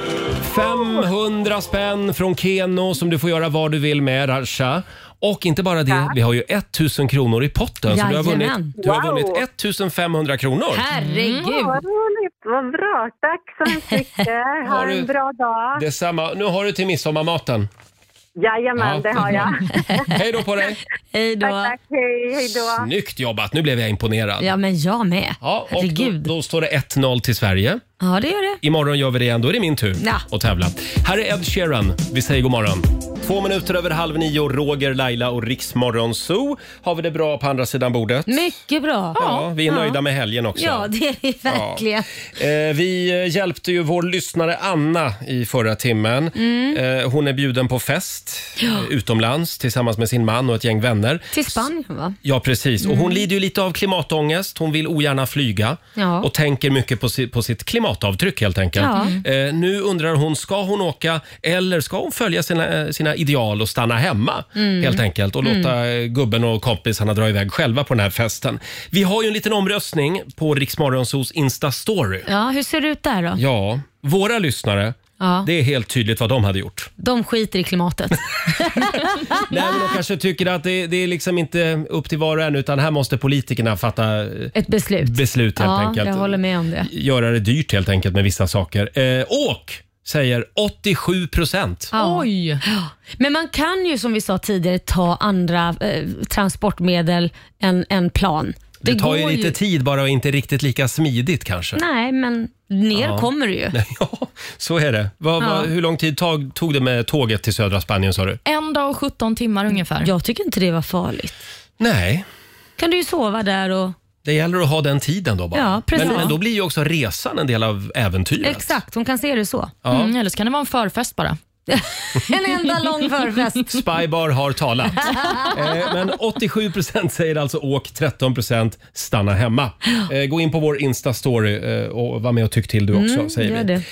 500 spänn från Keno som du får göra vad du vill med, Rasha. Och inte bara det, vi har ju 1000 kronor i potten. Så du har vunnit,
Jajamän.
du har
Wow.
vunnit 1500 kronor.
Mm, vad roligt. Vad bra. Tack så mycket.
Har
Ha
du-
en bra dag.
Detsamma. Nu har du till midsommarmaten.
Jajamän,
Ja.
det har jag.
Hej då på dig!
Hej då.
Tack, tack. Hej, hej då.
Snyggt jobbat! Nu blev jag imponerad.
Ja, men jag med.
Ja, och då, då står det 1-0 till Sverige.
Ja, det gör det.
Imorgon gör vi det igen. Då är det min tur
Ja.
att tävla. Här är Ed Sheeran. Vi säger god morgon. Två minuter över halv nio, Roger, Laila och Riksmorgon Zoo. Har vi det bra på andra sidan bordet?
Mycket bra.
Ja, vi är nöjda med helgen också.
Ja, det är vi verkligen.
Eh, vi eh, hjälpte ju vår lyssnare Anna i förra timmen.
Mm.
Eh, hon är bjuden på fest
Ja.
eh, utomlands tillsammans med sin man och ett gäng vänner.
Till Spanien va?
Ja, precis. Och hon
Mm.
lider ju lite av klimatångest. Hon vill ogärna flyga
Ja.
och tänker mycket på, si- på sitt klimatavtryck helt enkelt.
Ja.
Eh, nu undrar hon, ska hon åka eller ska hon följa sina, eh, sina ideal och stanna hemma
Mm.
helt enkelt och
Mm.
låta eh, gubben och kompisarna dra iväg själva på den här festen. Vi har ju en liten omröstning på Riksmorgonsos Insta-story.
Ja, hur ser det ut där då?
Ja, våra lyssnare
Ja.
Det är helt tydligt vad de hade gjort.
De skiter i klimatet.
Nej, men de kanske tycker att det, det är liksom inte upp till var och en utan här måste politikerna fatta eh,
Ett beslut.
beslut helt
ja,
enkelt. Mm.
jag håller med om det.
Göra det dyrt helt enkelt med vissa saker. Eh, åk! Säger 87 procent.
Oj! Men man kan ju som vi sa tidigare ta andra eh, transportmedel än, än plan.
Det, tar ju
går
lite tid bara och inte riktigt lika smidigt kanske.
Nej, men ner
Ja.
kommer det ju.
Ja, så är det. Vad- vad-
Ja.
hur lång tid tog, tog det med tåget till södra Spanien sa du?
En dag och 17 timmar ungefär.
Jag tycker inte det var farligt.
Nej,
kan du ju sova där och...
det gäller att ha den tiden då bara.
Ja, precis.
Men, men då blir ju också resan en del av äventyret.
Exakt, hon kan se det så.
Ja. Mm,
eller så kan det vara en förfest bara.
en enda lång förfest.
Spybar har talat. Eh, Men 87% säger alltså åk, 13% stanna hemma. Eh, Gå in på vår Insta-story eh, och var med och tyck till du också.
Mm,
säger
gör
vi.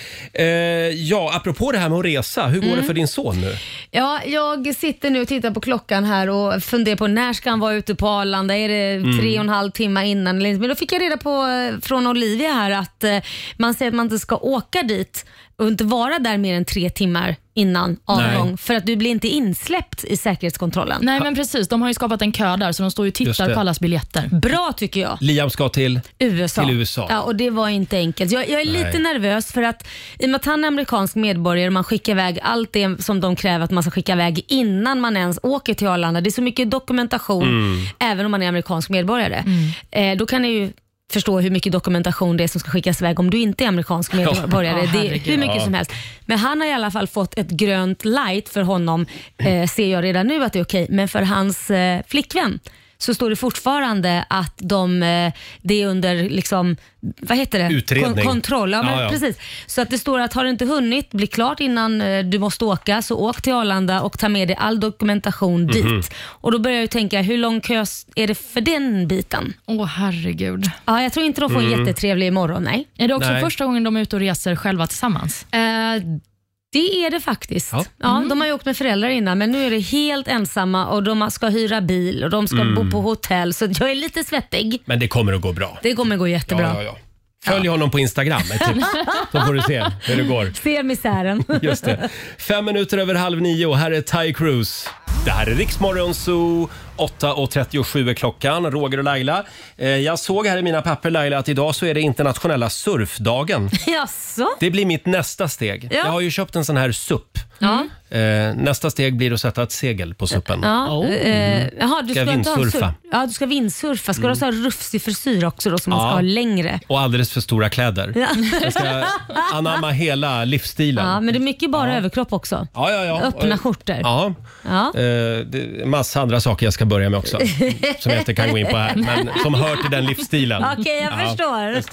Eh, Ja, apropå det här med att resa, hur
Mm.
går det för din son nu?
Ja, jag sitter nu och tittar på klockan här och funderar på när ska han vara ute på Arlanda? Är det
Mm.
tre och en halv timme innan? eller inte? Men då fick jag reda på eh, från Olivia här att eh, man säger att man inte ska åka dit och inte vara där mer än tre timmar innan avgång
Nej.
för att du blir inte insläppt i säkerhetskontrollen.
Nej men precis, de har ju skapat en kö där så de står ju och
Just det. Mm.
tittar på allas biljetter.
Bra tycker jag.
Liam ska till?
USA.
Till USA.
Ja, och det var inte enkelt. Jag, jag är
Nej.
lite nervös för att i och med att han är amerikansk medborgare och man skickar iväg allt det som de kräver att man ska skicka iväg innan man ens åker till Arlanda. Det är så mycket dokumentation
Mm.
även om man är amerikansk medborgare. Eh, då kan ni ju förstå hur mycket dokumentation det är som ska skickas iväg om du inte är amerikansk medborgare.
Ja,
det är
herregud.
hur mycket
Ja.
som helst. Men han har i alla fall fått ett grönt light för honom, eh, ser jag redan nu att det är okej. Men för hans eh, flickvän så står det fortfarande att de, eh, det är under liksom, vad heter det?
Utredning.
Kon- kontroll. Ja, men
Ja, ja.
Precis. Så att det står att har du inte hunnit bli klart innan eh, du måste åka så åk till Arlanda och ta med dig all dokumentation dit.
Mhm.
Och då börjar jag ju tänka, hur lång kö är det för den biten?
Åh herregud.
Ja, jag tror inte de får en
Mm.
jättetrevlig imorgon, nej.
Är det också
Nej.
första gången de är ute och reser själva tillsammans?
Eh, det är det faktiskt. Ja.
Mm.
De har ju åkt med föräldrar innan, men nu är det helt ensamma och de ska hyra bil och de ska
Mm.
bo på hotell, så jag är lite svettig.
Men det kommer att gå bra.
Det kommer gå jättebra.
Ja, ja, ja. Följ honom på Instagram, ett tips. Så får du se hur det går.
Ser misären.
Just det. Fem minuter över halv nio. och Här är Ty Cruz. Det här är Riksmorgon Zoo. 8.37 är klockan. Roger och Laila. Eh, Jag såg här i mina papper, Laila, att idag så är det internationella surfdagen.
Jaså?
Det blir mitt nästa steg.
Ja.
Jag har ju köpt en sån här SUP.
Ja.
Eh, Nästa steg blir att sätta ett segel på SUPen.
Ja, eh, jaha, du
Ska
ska, inte ha en
vindsurfa. Mm.
surf- Ja, du ska vindsurfa. Ska du ha så här rufsig frisyr också då som man
Ja.
ska ha längre?
Och alldeles för stora kläder.
Ja.
Jag ska anamma hela livsstilen.
Ja, men det är mycket bara överkropp också.
Ja, ja, ja.
Öppna
Eh,
skjortor.
Ja.
Ja.
Eh, det- massa andra saker jag ska börja med också. Som jag inte kan gå in på här, men som hör till den livsstilen.
Okej, jag förstår.
just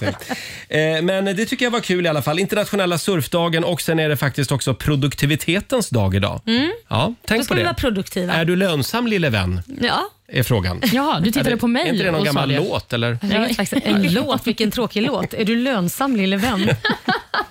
det. Eh, Men det tycker jag var kul i alla fall. Internationella surfdagen och sen är det faktiskt också produktivitetens dag idag.
Mm.
Ja,
Då
tänk
ska
på
vi vara
det.
produktiva.
Är du lönsam lille vän?
Ja.
Är frågan.
Ja, du tittade
Är det-
på mig
Är inte det någon
och sa
gammal
det.
låt eller?
Jag vet faktiskt- En låt, vilken tråkig låt. Är du lönsam lille vän?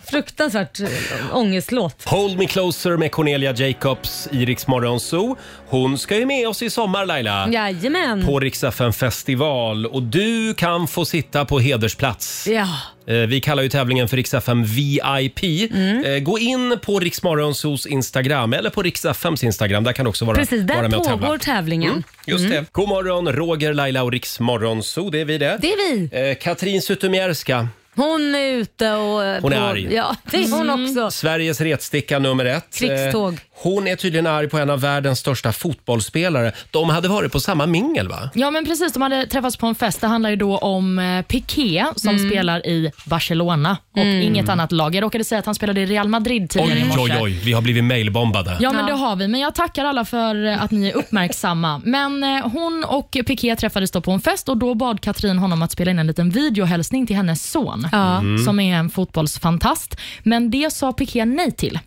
Fruktansvärt eh, ångestlåt.
Hold Me Closer med Cornelia Jacobs i Rix Morgon Zoo. Hon ska ju med oss i sommar Laila.
Jajamän.
På Rix FM festival och du kan få sitta på hedersplats.
Ja.
Eh, Vi kallar ju tävlingen för Rix FM VIP.
Mm.
Eh, Gå in på Rix Morgon Zoos Instagram eller på Rix FMs Instagram. Där kan du också vara,
Precis,
vara
där
med och tävla.
pågår tävlingen.
Mm, just det. God morgon Roger, Laila och Rix Morgon Zoo. Det är vi det.
Det är vi.
Eh, Katrin Zytomierska.
Hon är ute och... eh,
Hon är
på-
arg. Mm.
Ja, det är hon också.
Sveriges retsticka nummer ett.
Krigståg.
Eh, Hon är tydligen arg på en av världens största fotbollsspelare. De hade varit på samma mingel va?
Ja men precis, de hade träffats på en fest. Det handlar ju då om eh, Piqué som
Mm.
spelar i Barcelona och
Mm.
inget annat lag. Jag råkade säga att han spelade i Real Madrid tidigare i
Oj,
morse.
oj, oj. Vi har blivit mailbombade.
Ja, men det har vi. Men jag tackar alla för eh, att ni är uppmärksamma. Men eh, hon och Piqué träffades då på en fest och då bad Katrin honom att spela in en liten videohälsning till hennes son,
Ja. Mm.
som är en fotbollsfantast. Men det sa Piqué nej till.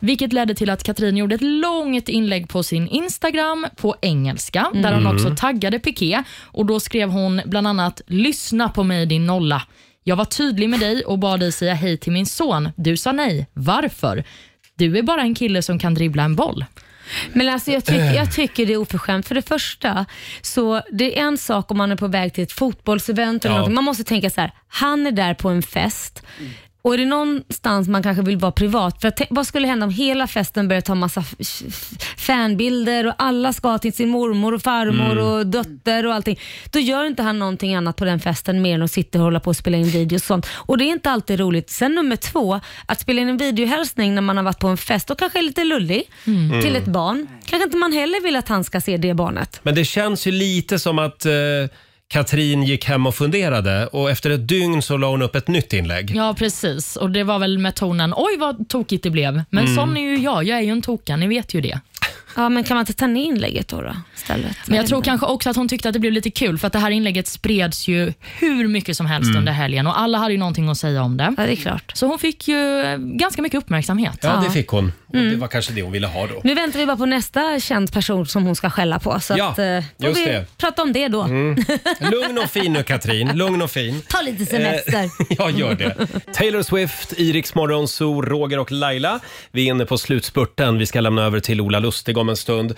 Vilket ledde till att Katrin gjorde ett långt inlägg på sin Instagram på engelska,
Mm.
där hon
Mm.
också taggade Piqué. Och då skrev hon bland annat “Lyssna på mig din nolla. Jag var tydlig med dig och bad dig säga hej till min son. Du sa nej. Varför? Du är bara en kille som kan dribbla en boll.”
Men alltså jag, tycker, jag tycker det är oförskämt. För det första, så det är en sak om man är på väg till ett fotbollsevent eller
Ja.
någonting. Man måste tänka så här, han är där på en fest. Och är det någonstans man kanske vill vara privat? För att, tänk- vad skulle hända om hela festen började ta massa f- f- fanbilder och alla ska till sin mormor och farmor
Mm.
och dotter och allting. Då gör inte han någonting annat på den festen mer än att sitta och hålla på och spela in videos och sånt. Och det är inte alltid roligt. Sen nummer två, att spela in en videohälsning när man har varit på en fest och kanske är lite lullig
Mm.
till ett barn. Kanske inte man heller vill att han ska se det barnet.
Men det känns ju lite som att eh, Katrin gick hem och funderade och efter ett dygn så la hon upp ett nytt inlägg.
Ja, precis. Och Det var väl med tonen, oj vad tokigt det blev. Men
Mm.
sån är ju jag, jag är ju en toka, ni vet ju det.
Ja, men kan man inte ta ner inlägget då, då istället?
Men jag tror kanske också att hon tyckte att det blev lite kul för att det här inlägget spreds ju hur mycket som helst
Mm.
under helgen och alla hade ju någonting att säga om det.
Ja, det är klart.
Så hon fick ju eh, ganska mycket uppmärksamhet.
Ja, det fick hon. Och Det
Mm.
var kanske det hon ville ha då.
Nu väntar vi bara på nästa känd person som hon ska skälla på. Så
Ja,
att, eh, får
just
vi
det.
prata om det då.
Mm. Lugn och fin nu Katrin, lugn och fin.
Ta lite semester.
Eh, ja, gör det. Taylor Swift, Iriks morgonzoo, Roger och Laila. Vi är inne på slutspurten. Vi ska lämna över till Ola Lustig om en stund.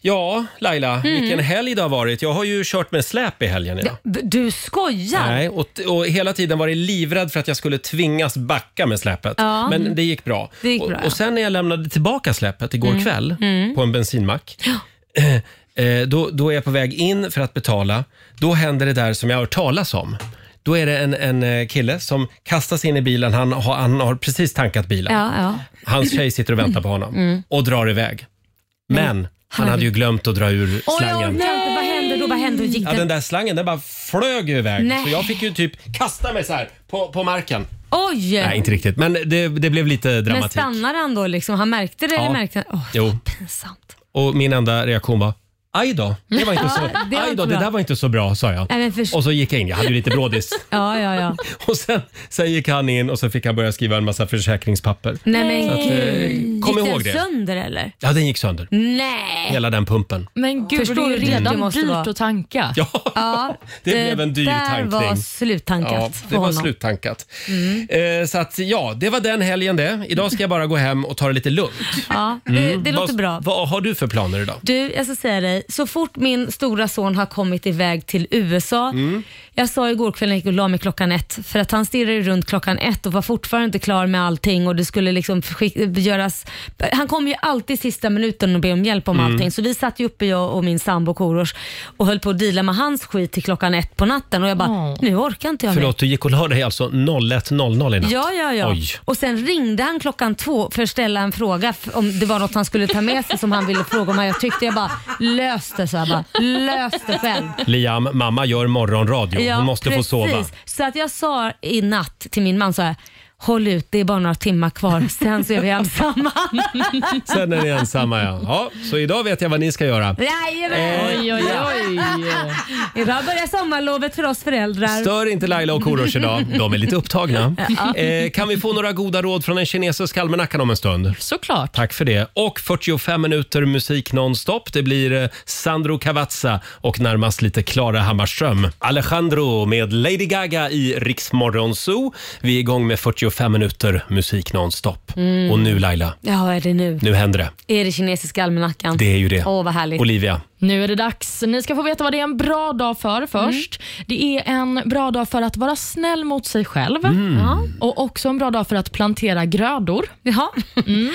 Ja, Laila,
Mm.
vilken helg det har varit. Jag har ju kört med släp i helgen. Ja.
B- Du skojar?
Nej, och, och hela tiden var jag livrädd för att jag skulle tvingas backa med släpet.
Ja. Mm.
Men det gick bra.
Det gick bra,
och,
ja.
och sen när jag lämnade tillbaka släpet igår
Mm.
kväll
Mm.
på en bensinmack. eh, Då, då är jag på väg in för att betala. Då händer det där som jag har hört talas om. Då är det en, en eh, kille som kastas in i bilen. Han har, han har precis tankat bilen.
Ja, ja.
Hans tjej sitter och väntar på honom
Mm.
och drar iväg. Men han hade ju glömt att dra ur
Oj, jag orkar
slangen.
inte. Vad hände då? Vad hände? Då Gick
Ja,
det-
den där slangen den bara flög ju iväg.
Nej.
Så jag fick ju typ kasta mig så här på, på marken.
Oj!
Nej, inte riktigt. Men det, det blev lite
Men
dramatik.
stannade han då? Liksom? Han märkte det
Ja.
eller märkte han? Åh,
Jo.
pinsamt.
Och min enda reaktion var Aj då, det var inte
Ja,
så,
det var
aj
inte
då, det
bra."
där var inte så bra sa jag.
Nej, men först-
Och så gick jag in, jag hade ju lite brådis.
Ja, ja, ja.
Och sen, sen gick han in och så fick han börja skriva en massa försäkringspapper.
Nej, men
Så att, eh,
gud.
kom
Gick
ihåg
den
det.
sönder eller?
Ja, den gick sönder.
Nej!
Hela den pumpen.
Men gud,
Förstår
det är
du
ju
hur
redan
det måste
dyrt
vara?
att tanka.
Ja,
Ja, Eh,
det, blev en dyr
där
tankning.
var sluttankat
Ja,
för
det var
honom. Mm.
sluttankat. Eh, så att ja, det var den helgen det. Idag ska jag bara gå hem och ta det lite lugnt.
Ja, Eh, det,
Mm.
det låter
vad,
bra.
Vad har du för planer idag?
Du, jag ska säga dig. Så fort min stora son har kommit iväg till USA. Jag sa igår kväll när jag gick och la mig klockan ett, för att han stirrade runt klockan ett och var fortfarande inte klar med allting och det skulle liksom skick- göras... Han kom ju alltid sista minuten och be om hjälp om
Mm.
allting, så vi satt ju uppe jag och min sambo Korosh och höll på att deala med hans skit till klockan ett på natten och jag bara, nu orkar inte jag mer.
Förlåt, du gick och la dig alltså 01.00 i natt?
Ja, ja, ja.
Oj.
Och sen ringde han klockan två för att ställa en fråga f- om det var något han skulle ta med sig som han ville fråga om. Jag tyckte jag bara löste så jag bara löste själv.
Liam, mamma gör morgonradio.
Ja,
Hon måste
precis.
få sova.
Så att jag sa i natt till min man så här, håll ut det är bara några timmar kvar sen så är vi ensamma.
Sen är ni ensamma ja. ja. Så idag vet jag vad ni ska göra.
Jajamän!
Eh, Oj, oj, oj.
Idag börjar sommarlovet för oss föräldrar.
Stör inte Laila och Korosh idag. De är lite upptagna.
Ja.
Eh, kan vi få några goda råd från den kinesiska almanackan om en stund?
Såklart.
Tack för det. Och 45 minuter musik nonstop. Det blir eh, Sandro Cavazza och närmast lite Klara Hammarström. Alejandro med Lady Gaga i Riksmorgon Zoo. Vi är igång med 45 minuter musik nonstop.
Mm.
Och nu Laila,
Ja, vad är det nu?
nu händer det.
Är det kinesiska almanackan?
Det är ju det.
Åh, vad härligt.
Olivia.
Nu är det dags. Ni ska få veta vad det är en bra dag för först.
Mm.
Det är en bra dag för att vara snäll mot sig själv
Mm. Ja.
och också en bra dag för att plantera grödor.
Jaha.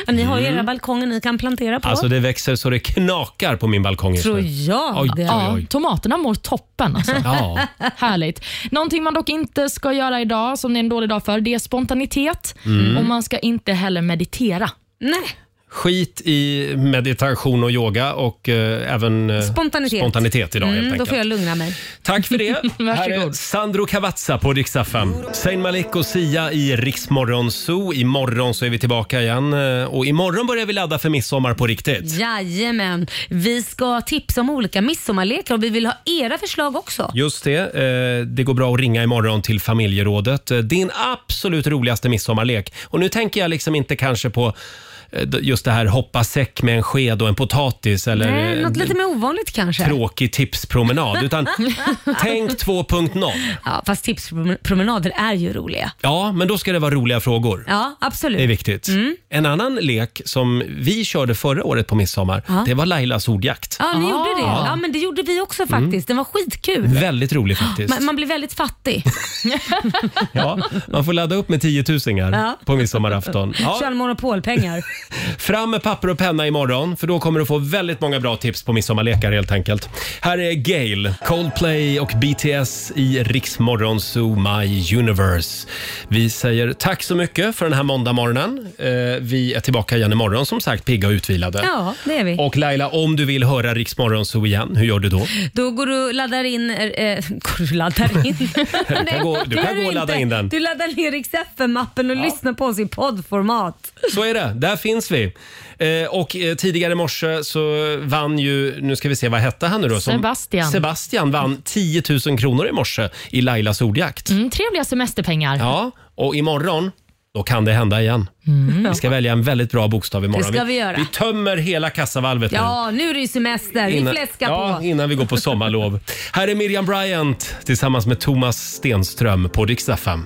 Ni har ju era balkonger ni kan plantera på.
Mm. Alltså det växer så det knakar på min balkong just
Tror
nu.
jag
Oj,
det.
oj,
Ja,
oj.
tomaterna mår toppen. Alltså.
Ja.
Härligt. Någonting man dock inte ska göra idag, som det är en dålig dag för, det är spontanitet.
Mm.
Och man ska inte heller meditera.
Nej.
Skit i meditation och yoga och eh, även eh,
Spontanitet.
spontanitet idag
Mm,
helt
Då
enkelt.
får jag lugna mig.
Tack för det. Här är
Varsågod.
Sandro Cavazza på riksdag 5. Zayn Malik och Sia i Riksmorgon Zoo. Imorgon så är vi tillbaka igen eh, och imorgon börjar vi ladda för midsommar på riktigt.
Jajamän. Vi ska tipsa om olika midsommarlekar och vi vill ha era förslag också.
Just det. eh, Det går bra att ringa imorgon till familjerådet. Eh, Din absolut roligaste midsommarlek. Och nu tänker jag liksom inte kanske på eh, d- just det här hoppa säck med en sked och en potatis eller
Nej,
eh,
något lite mer ovanligt kanske.
tråkig tipspromenad. Utan tänk 2.0.
Ja, fast tipspromenader är ju roliga.
Ja, men då ska det vara roliga frågor.
Ja, absolut.
Det är viktigt.
Mm.
En annan lek som vi körde förra året på midsommar,
Ja.
det var Lailas ordjakt.
Ja, ni
Ah.
gjorde det.
Ja.
Ja, men det gjorde vi också
Mm.
faktiskt. Den var skitkul.
Väldigt rolig faktiskt.
Man, man blir väldigt fattig.
Ja, man får ladda upp med tiotusingar
Ja.
på midsommarafton.
Kör
Ja.
monopolpengar.
Fram med papper och penna imorgon, för då kommer du få väldigt många bra tips på midsommarlekar helt enkelt. Här är Gail, Coldplay och BTS i Riksmorgon Zoo My Universe. Vi säger tack så mycket för den här måndagmorgonen. Eh, vi är tillbaka igen imorgon som sagt, pigga och utvilade.
Ja, det är vi.
Och Laila, om du vill höra Riksmorgon Zoo igen, hur gör du då?
Då går du och laddar in... eh, Eh, går du och laddar in?
kan
Nej,
gå- du
det
kan
gör
gå och ladda
inte.
in den.
Du laddar ner Rix FM-appen och lyssnar på oss i poddformat.
Så är det, där finns vi. Eh, och eh, tidigare i morse så vann ju, nu ska vi se vad hette han nu då?
Sebastian.
Sebastian vann 10 000 kronor i morse i Lailas ordjakt.
Mm, trevliga semesterpengar.
Ja, och imorgon då kan det hända igen. Vi ska välja en väldigt bra bokstav imorgon.
Mm. Det ska vi göra.
Vi tömmer hela kassavalvet nu.
Ja, nu är det ju semester. Vi fläskar
ja,
på.
innan vi går på sommarlov. Här är Miriam Bryant tillsammans med Thomas Stenström på Dix FM.